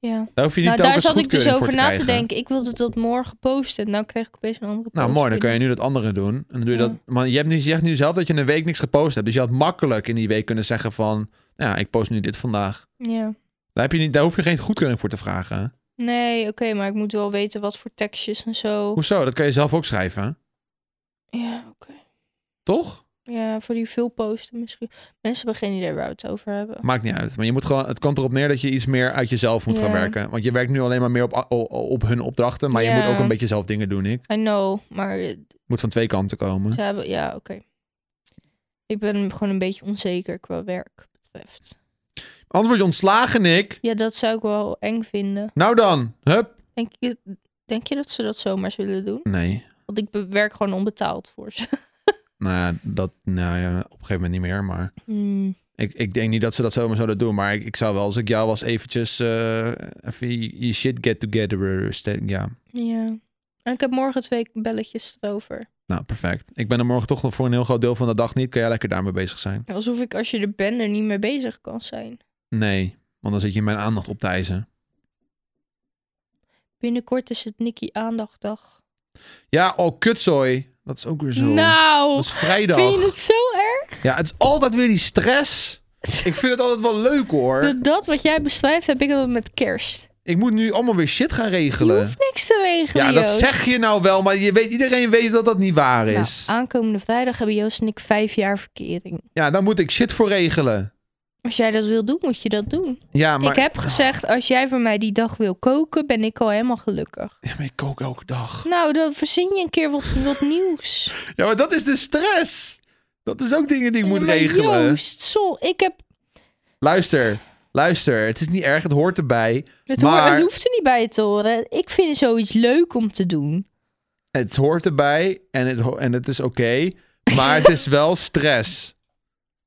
[SPEAKER 1] Ja.
[SPEAKER 2] Daar hoef je niet
[SPEAKER 1] Nou, daar
[SPEAKER 2] telkens
[SPEAKER 1] zat ik dus
[SPEAKER 2] goedkeuring
[SPEAKER 1] over
[SPEAKER 2] voor
[SPEAKER 1] na
[SPEAKER 2] krijgen.
[SPEAKER 1] te denken. Ik wilde dat morgen posten. Nou kreeg ik opeens een andere post.
[SPEAKER 2] Nou, mooi. Dan kun
[SPEAKER 1] binnen.
[SPEAKER 2] je nu dat andere doen. En dan doe je
[SPEAKER 1] Ja.
[SPEAKER 2] dat. Maar je, hebt nu, je zegt nu zelf dat je een week niks gepost hebt. Dus je had makkelijk in die week kunnen zeggen van... Ja, ik post nu dit vandaag.
[SPEAKER 1] Ja.
[SPEAKER 2] Daar, heb je niet, daar hoef je geen goedkeuring voor te vragen.
[SPEAKER 1] Nee, oké, maar ik moet wel weten wat voor tekstjes en zo.
[SPEAKER 2] Hoezo? Dat kan je zelf ook schrijven.
[SPEAKER 1] Ja, oké.
[SPEAKER 2] Toch?
[SPEAKER 1] Ja, voor die veel posten misschien. Mensen hebben geen idee waar we het over hebben.
[SPEAKER 2] Maakt niet uit. Maar je moet gewoon, het komt erop neer dat je iets meer uit jezelf moet gaan
[SPEAKER 1] Ja.
[SPEAKER 2] werken. Want je werkt nu alleen maar meer op, a- o- op hun opdrachten. Maar je
[SPEAKER 1] Ja.
[SPEAKER 2] moet ook een beetje zelf dingen doen, ik.
[SPEAKER 1] I know, maar eh,
[SPEAKER 2] Moet van twee kanten komen.
[SPEAKER 1] ze hebben... Ja, oké. Ik ben gewoon een beetje onzeker qua werk betreft.
[SPEAKER 2] Anders word je ontslagen, Nick.
[SPEAKER 1] Ja, dat zou ik wel eng vinden.
[SPEAKER 2] Nou dan. Hup.
[SPEAKER 1] Denk je, denk je dat ze dat zomaar zullen doen?
[SPEAKER 2] Nee.
[SPEAKER 1] Want ik be- werk gewoon onbetaald voor ze. *laughs*
[SPEAKER 2] Nou ja, dat, nou ja, op een gegeven moment niet meer. Maar
[SPEAKER 1] Hmm.
[SPEAKER 2] ik, ik denk niet dat ze dat zomaar zouden doen. Maar ik, ik zou wel, als ik jou was, eventjes eh, even je- je shit get together. ste- Ja,
[SPEAKER 1] Ja. En ik heb morgen twee belletjes erover.
[SPEAKER 2] nou perfect. Ik ben er morgen toch nog voor een heel groot deel van de dag niet. Kan jij lekker daarmee bezig zijn?
[SPEAKER 1] Alsof ik als je er bent er niet mee bezig kan zijn.
[SPEAKER 2] Nee, want dan zit je mijn aandacht op te eisen.
[SPEAKER 1] Binnenkort is het Nicky Aandachtdag.
[SPEAKER 2] Ja, oh, kutzooi. Dat is ook weer zo.
[SPEAKER 1] Nou,
[SPEAKER 2] dat is vrijdag.
[SPEAKER 1] vind je het zo erg?
[SPEAKER 2] Ja, het is altijd weer die
[SPEAKER 1] *laughs*
[SPEAKER 2] stress. Ik vind het altijd wel leuk hoor.
[SPEAKER 1] Dat, dat wat jij beschrijft heb ik altijd met kerst.
[SPEAKER 2] Ik moet nu allemaal weer shit gaan
[SPEAKER 1] Je
[SPEAKER 2] regelen.
[SPEAKER 1] hoeft niks te regelen,
[SPEAKER 2] Ja, dat
[SPEAKER 1] Joost.
[SPEAKER 2] zeg je nou wel, maar je weet, iedereen weet dat dat niet waar
[SPEAKER 1] Nou,
[SPEAKER 2] is.
[SPEAKER 1] aankomende vrijdag hebben Joost en ik vijf jaar verkering.
[SPEAKER 2] Ja, daar moet ik shit voor regelen.
[SPEAKER 1] Als jij dat wil doen, moet je dat doen.
[SPEAKER 2] Ja, maar
[SPEAKER 1] Ik heb gezegd, als jij voor mij die dag wil koken, ben ik al helemaal gelukkig.
[SPEAKER 2] Ja, maar ik kook elke dag.
[SPEAKER 1] Nou, dan verzin je een keer wat, wat
[SPEAKER 2] *laughs*
[SPEAKER 1] nieuws.
[SPEAKER 2] Ja, maar dat is de stress. Dat is ook dingen die ik moet
[SPEAKER 1] Ja, maar
[SPEAKER 2] regelen.
[SPEAKER 1] Eh, Joost, zo, ik heb...
[SPEAKER 2] Luister, luister. Het is niet erg, het hoort erbij.
[SPEAKER 1] Het,
[SPEAKER 2] Maar-
[SPEAKER 1] hoor- het hoeft er niet bij te horen. Ik vind zoiets leuk om te doen.
[SPEAKER 2] Het hoort erbij en het, ho- en het is oké. maar het is wel stress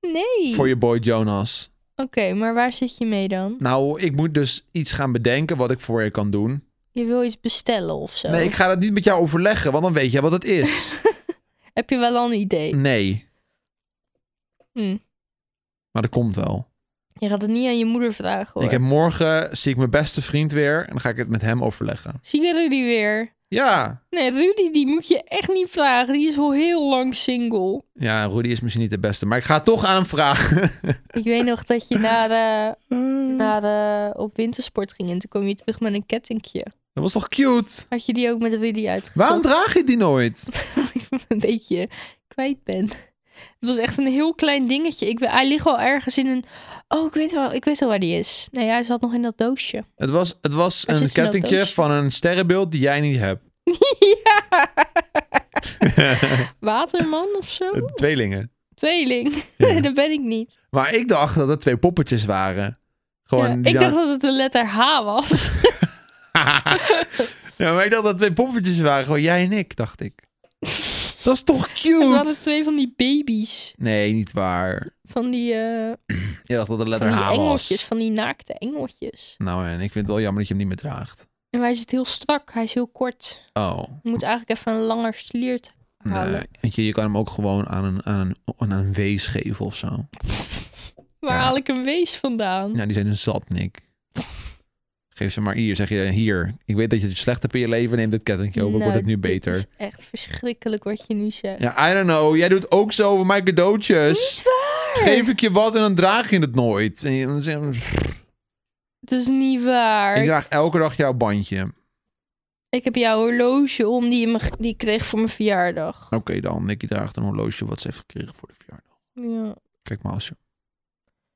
[SPEAKER 1] Nee.
[SPEAKER 2] voor je boy Jonas.
[SPEAKER 1] Oké, maar waar zit je mee dan?
[SPEAKER 2] Nou, ik moet dus iets gaan bedenken wat ik voor je kan doen.
[SPEAKER 1] Je wil iets bestellen of zo?
[SPEAKER 2] Nee, ik ga dat niet met jou overleggen, want dan weet jij wat het is.
[SPEAKER 1] *laughs* Heb je wel al een
[SPEAKER 2] Mm.
[SPEAKER 1] idee?
[SPEAKER 2] Nee.
[SPEAKER 1] Hm.
[SPEAKER 2] Maar dat komt wel.
[SPEAKER 1] Je gaat het niet aan je moeder vragen hoor.
[SPEAKER 2] Ik heb morgen zie ik mijn beste vriend weer en dan ga ik het met hem overleggen.
[SPEAKER 1] Zie je Rudy weer?
[SPEAKER 2] Ja.
[SPEAKER 1] Nee, Rudy die moet je echt niet vragen. Die is al heel lang single.
[SPEAKER 2] Ja, Rudy is misschien niet de beste, maar ik ga het toch aan hem vragen. *laughs*
[SPEAKER 1] Ik weet nog dat je naar, eh,
[SPEAKER 2] Hmm.
[SPEAKER 1] naar, eh, op wintersport ging en toen kwam je terug met een kettingje.
[SPEAKER 2] Dat was toch cute?
[SPEAKER 1] Had je die ook met Rudy uitgezocht?
[SPEAKER 2] Waarom draag je die nooit?
[SPEAKER 1] dat ik hem *laughs* een beetje kwijt ben. Het was echt een heel klein dingetje. Ik, we- hij ligt al ergens in een... Oh, ik weet wel, ik weet wel waar die is. Nee, hij zat nog in dat *laughs* doosje.
[SPEAKER 2] Het was, het was
[SPEAKER 1] Waar zit
[SPEAKER 2] een
[SPEAKER 1] je nou
[SPEAKER 2] kettingje
[SPEAKER 1] thuis?
[SPEAKER 2] van een sterrenbeeld die jij niet
[SPEAKER 1] *laughs*
[SPEAKER 2] hebt. *laughs*
[SPEAKER 1] Waterman of zo?
[SPEAKER 2] Tweelingen.
[SPEAKER 1] Tweeling. *laughs*
[SPEAKER 2] Eh, Ja.
[SPEAKER 1] dat ben ik niet.
[SPEAKER 2] Maar ik dacht dat het twee poppetjes waren. Gewoon
[SPEAKER 1] Ja,
[SPEAKER 2] die
[SPEAKER 1] ik
[SPEAKER 2] dan-
[SPEAKER 1] dacht dat het de letter H was.
[SPEAKER 2] *laughs*
[SPEAKER 1] *laughs*
[SPEAKER 2] ja, maar ik dacht dat het twee poppetjes waren. Gewoon jij en ik, dacht ik. Dat is
[SPEAKER 1] *laughs*
[SPEAKER 2] toch
[SPEAKER 1] We hadden
[SPEAKER 2] cute?
[SPEAKER 1] dus twee van die baby's.
[SPEAKER 2] Nee, niet waar.
[SPEAKER 1] Van die, eh,
[SPEAKER 2] Je dacht dat het
[SPEAKER 1] van
[SPEAKER 2] letter
[SPEAKER 1] die
[SPEAKER 2] H
[SPEAKER 1] engeltjes.
[SPEAKER 2] was.
[SPEAKER 1] Van die naakte engeltjes.
[SPEAKER 2] Nou, en ik vind het wel jammer dat je hem niet meer draagt.
[SPEAKER 1] En hij zit heel strak. Hij is heel kort.
[SPEAKER 2] Oh.
[SPEAKER 1] Je moet eigenlijk even een langer sliert halen.
[SPEAKER 2] Nee, weet je, je kan hem ook gewoon aan een, aan een, aan een wees geven of zo.
[SPEAKER 1] Waar
[SPEAKER 2] Ja.
[SPEAKER 1] haal ik een wees vandaan?
[SPEAKER 2] Ja, die zijn dus zat, Nick. Geef ze maar hier. Zeg je, hier. Ik weet dat je het slecht hebt in je leven. Neem dit kettingje op. dan
[SPEAKER 1] Nou,
[SPEAKER 2] wordt het nu
[SPEAKER 1] dit
[SPEAKER 2] beter.
[SPEAKER 1] is echt verschrikkelijk wat je nu zegt.
[SPEAKER 2] Ja, I don't know. Jij doet ook zo over mijn
[SPEAKER 1] Niet
[SPEAKER 2] cadeautjes.
[SPEAKER 1] waar!
[SPEAKER 2] Geef ik je wat en dan draag je het nooit. En je- dan zeg je, pff,
[SPEAKER 1] Het is niet waar.
[SPEAKER 2] ik
[SPEAKER 1] Ik,
[SPEAKER 2] draag elke dag jouw bandje. Oké
[SPEAKER 1] heb jouw horloge om die, je me- die ik kreeg voor mijn verjaardag.
[SPEAKER 2] dan, Nicky draagt een horloge wat ze heeft gekregen voor de verjaardag.
[SPEAKER 1] Ja.
[SPEAKER 2] Kijk maar als je...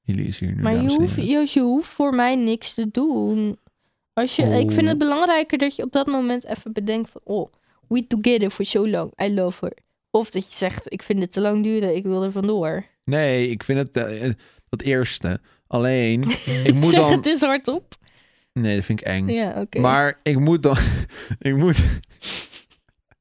[SPEAKER 2] Jullie is hier nu,
[SPEAKER 1] Maar je
[SPEAKER 2] dames en
[SPEAKER 1] hoeft,
[SPEAKER 2] heren.
[SPEAKER 1] Joost, je hoeft voor mij niks te doen. Als je, Ik vind het
[SPEAKER 2] Oh.
[SPEAKER 1] belangrijker dat je op dat moment even bedenkt van... Oh, we together for so long. I love her. Of dat je zegt, ik vind het te lang duren. Ik wil er vandoor.
[SPEAKER 2] Nee, ik vind het eh, dat eerste.
[SPEAKER 1] *laughs*
[SPEAKER 2] Alleen, ik moet
[SPEAKER 1] zeg
[SPEAKER 2] dan...
[SPEAKER 1] het eens hardop.
[SPEAKER 2] Nee, dat vind ik eng.
[SPEAKER 1] Ja, oké.
[SPEAKER 2] Maar ik moet dan... *laughs* ik moet... *laughs*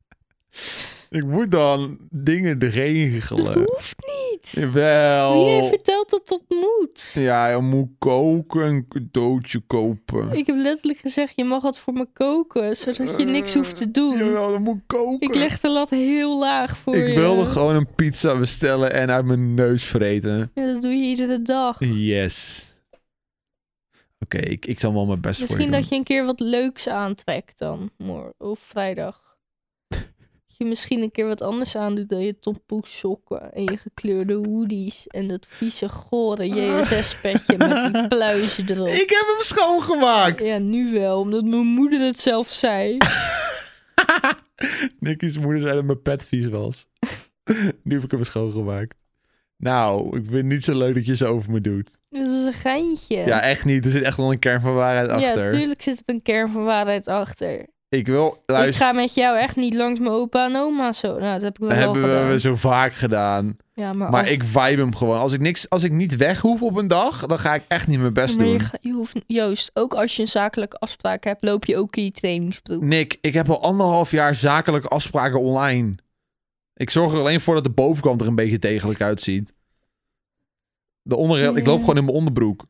[SPEAKER 2] ik moet dan dingen
[SPEAKER 1] Dat
[SPEAKER 2] regelen.
[SPEAKER 1] hoeft niet. Wie heeft
[SPEAKER 2] Jawel.
[SPEAKER 1] verteld dat dat moet?
[SPEAKER 2] Ja, je moet koken, een cadeautje kopen.
[SPEAKER 1] Ik heb letterlijk gezegd, je mag wat voor me koken, zodat je niks hoeft te doen.
[SPEAKER 2] Eh, Jawel, dat moet koken.
[SPEAKER 1] Ik leg de lat heel laag voor
[SPEAKER 2] Ik
[SPEAKER 1] je.
[SPEAKER 2] wilde gewoon een pizza bestellen en uit mijn neus vreten.
[SPEAKER 1] Ja, dat doe je iedere dag.
[SPEAKER 2] Yes. Oké, ik, ik zal wel mijn best
[SPEAKER 1] Misschien
[SPEAKER 2] voor je
[SPEAKER 1] dat je een keer wat leuks aantrekt dan, morgen of
[SPEAKER 2] *laughs*
[SPEAKER 1] vrijdag. Dat je misschien een keer wat anders aandoet dan je tompoes sokken en je gekleurde hoodies en dat vieze gore JSS-petje met
[SPEAKER 2] *laughs*
[SPEAKER 1] die pluizen erop.
[SPEAKER 2] doen. Ik heb hem schoongemaakt. *laughs*
[SPEAKER 1] Ja, nu wel, omdat mijn moeder het zelf zei.
[SPEAKER 2] Nicky's moeder zei dat mijn pet vies was. *laughs* nu heb ik hem schoongemaakt. Nou, ik vind het niet zo leuk dat je zo over me doet.
[SPEAKER 1] Dat is een geintje.
[SPEAKER 2] Ja, echt niet. Er zit echt wel een kern van waarheid
[SPEAKER 1] ja,
[SPEAKER 2] achter.
[SPEAKER 1] natuurlijk zit er een kern van waarheid achter.
[SPEAKER 2] ik wil, luister,
[SPEAKER 1] Ik ga met jou echt niet langs mijn opa en oma zo. Nou, dat heb ik wel
[SPEAKER 2] hebben
[SPEAKER 1] gedaan.
[SPEAKER 2] we we zo vaak gedaan.
[SPEAKER 1] Ja, maar,
[SPEAKER 2] Maar
[SPEAKER 1] af-
[SPEAKER 2] ik vibe hem gewoon. Als ik, niks, als ik niet weg hoef op een dag, dan ga ik echt niet mijn best
[SPEAKER 1] maar je,
[SPEAKER 2] doen.
[SPEAKER 1] ga- je hoeft, Joost, ook als je een zakelijke afspraak hebt, loop je ook in je trainingsbroek.
[SPEAKER 2] Nick, ik heb al anderhalf jaar zakelijke afspraken online. Ik zorg er alleen voor dat de bovenkant er een beetje degelijk uitziet. De onderreel, Ik loop
[SPEAKER 1] Ja.
[SPEAKER 2] gewoon in mijn onderbroek.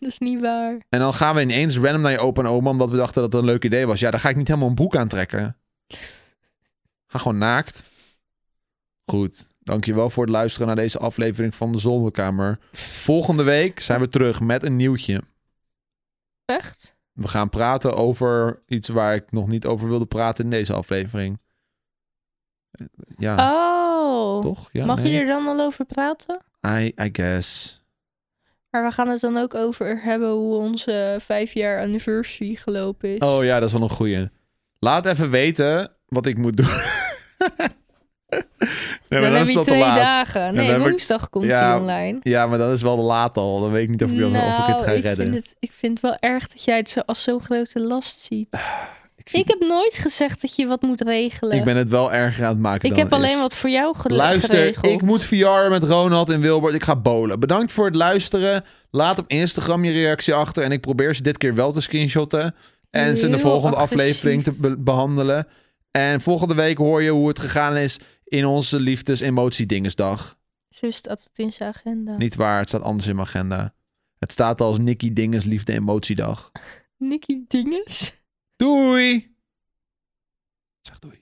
[SPEAKER 1] Dat is niet waar.
[SPEAKER 2] En dan gaan we ineens random naar je opa en oma, omdat we dachten dat het een leuk idee was. Ja, dan ga ik niet helemaal een broek aantrekken. Ga gewoon naakt. Goed. Dankjewel voor het luisteren naar deze aflevering van de Zolderkamer. Volgende week zijn we terug met een nieuwtje.
[SPEAKER 1] Echt?
[SPEAKER 2] We gaan praten over iets waar ik nog niet over wilde praten in deze aflevering. Eh, Ja,
[SPEAKER 1] Oh.
[SPEAKER 2] toch? Ah. Ja,
[SPEAKER 1] Mag
[SPEAKER 2] nee.
[SPEAKER 1] je er dan al over praten?
[SPEAKER 2] I, I guess.
[SPEAKER 1] Maar we gaan het dan ook over hebben hoe onze vijf jaar anniversary gelopen is.
[SPEAKER 2] Oh ja, dat is wel een *laughs* goeie. Laat even weten wat ik moet doen. Nee,
[SPEAKER 1] dan,
[SPEAKER 2] maar
[SPEAKER 1] heb
[SPEAKER 2] is
[SPEAKER 1] je
[SPEAKER 2] dat
[SPEAKER 1] twee
[SPEAKER 2] te laat.
[SPEAKER 1] dagen.
[SPEAKER 2] En
[SPEAKER 1] Nee,
[SPEAKER 2] dan heb ik-
[SPEAKER 1] woensdag komt
[SPEAKER 2] Ja,
[SPEAKER 1] hij online.
[SPEAKER 2] Ja, maar dat is wel laat al. Dan weet ik niet of ik, dat- of ik het
[SPEAKER 1] Nou,
[SPEAKER 2] ga
[SPEAKER 1] ik
[SPEAKER 2] redden.
[SPEAKER 1] Vind het, ik vind het wel erg dat jij het zo als zo'n grote last ziet. Ik heb nooit gezegd dat je wat moet regelen.
[SPEAKER 2] Ah, ik ben het wel erger aan het maken
[SPEAKER 1] Ik
[SPEAKER 2] dan
[SPEAKER 1] heb
[SPEAKER 2] het
[SPEAKER 1] alleen
[SPEAKER 2] is.
[SPEAKER 1] wat voor jou gele-
[SPEAKER 2] Luister,
[SPEAKER 1] geregeld.
[SPEAKER 2] ik moet VR met Ronald en Wilbert. Ik ga bowlen. Bedankt voor het luisteren. Laat op Instagram je reactie achter. En ik probeer ze dit keer wel te screenshotten. En ze in de
[SPEAKER 1] Heel
[SPEAKER 2] volgende
[SPEAKER 1] agressief.
[SPEAKER 2] aflevering te be- behandelen. En volgende week hoor je hoe het gegaan is in onze liefdes-emotie-dingesdag.
[SPEAKER 1] Zo is het altijd in zijn agenda.
[SPEAKER 2] Niet waar, het staat anders in mijn agenda. Het staat als Nicky Dinges Liefde-Emotiedag.
[SPEAKER 1] Nicky Dinges?
[SPEAKER 2] Doei! Zeg doei.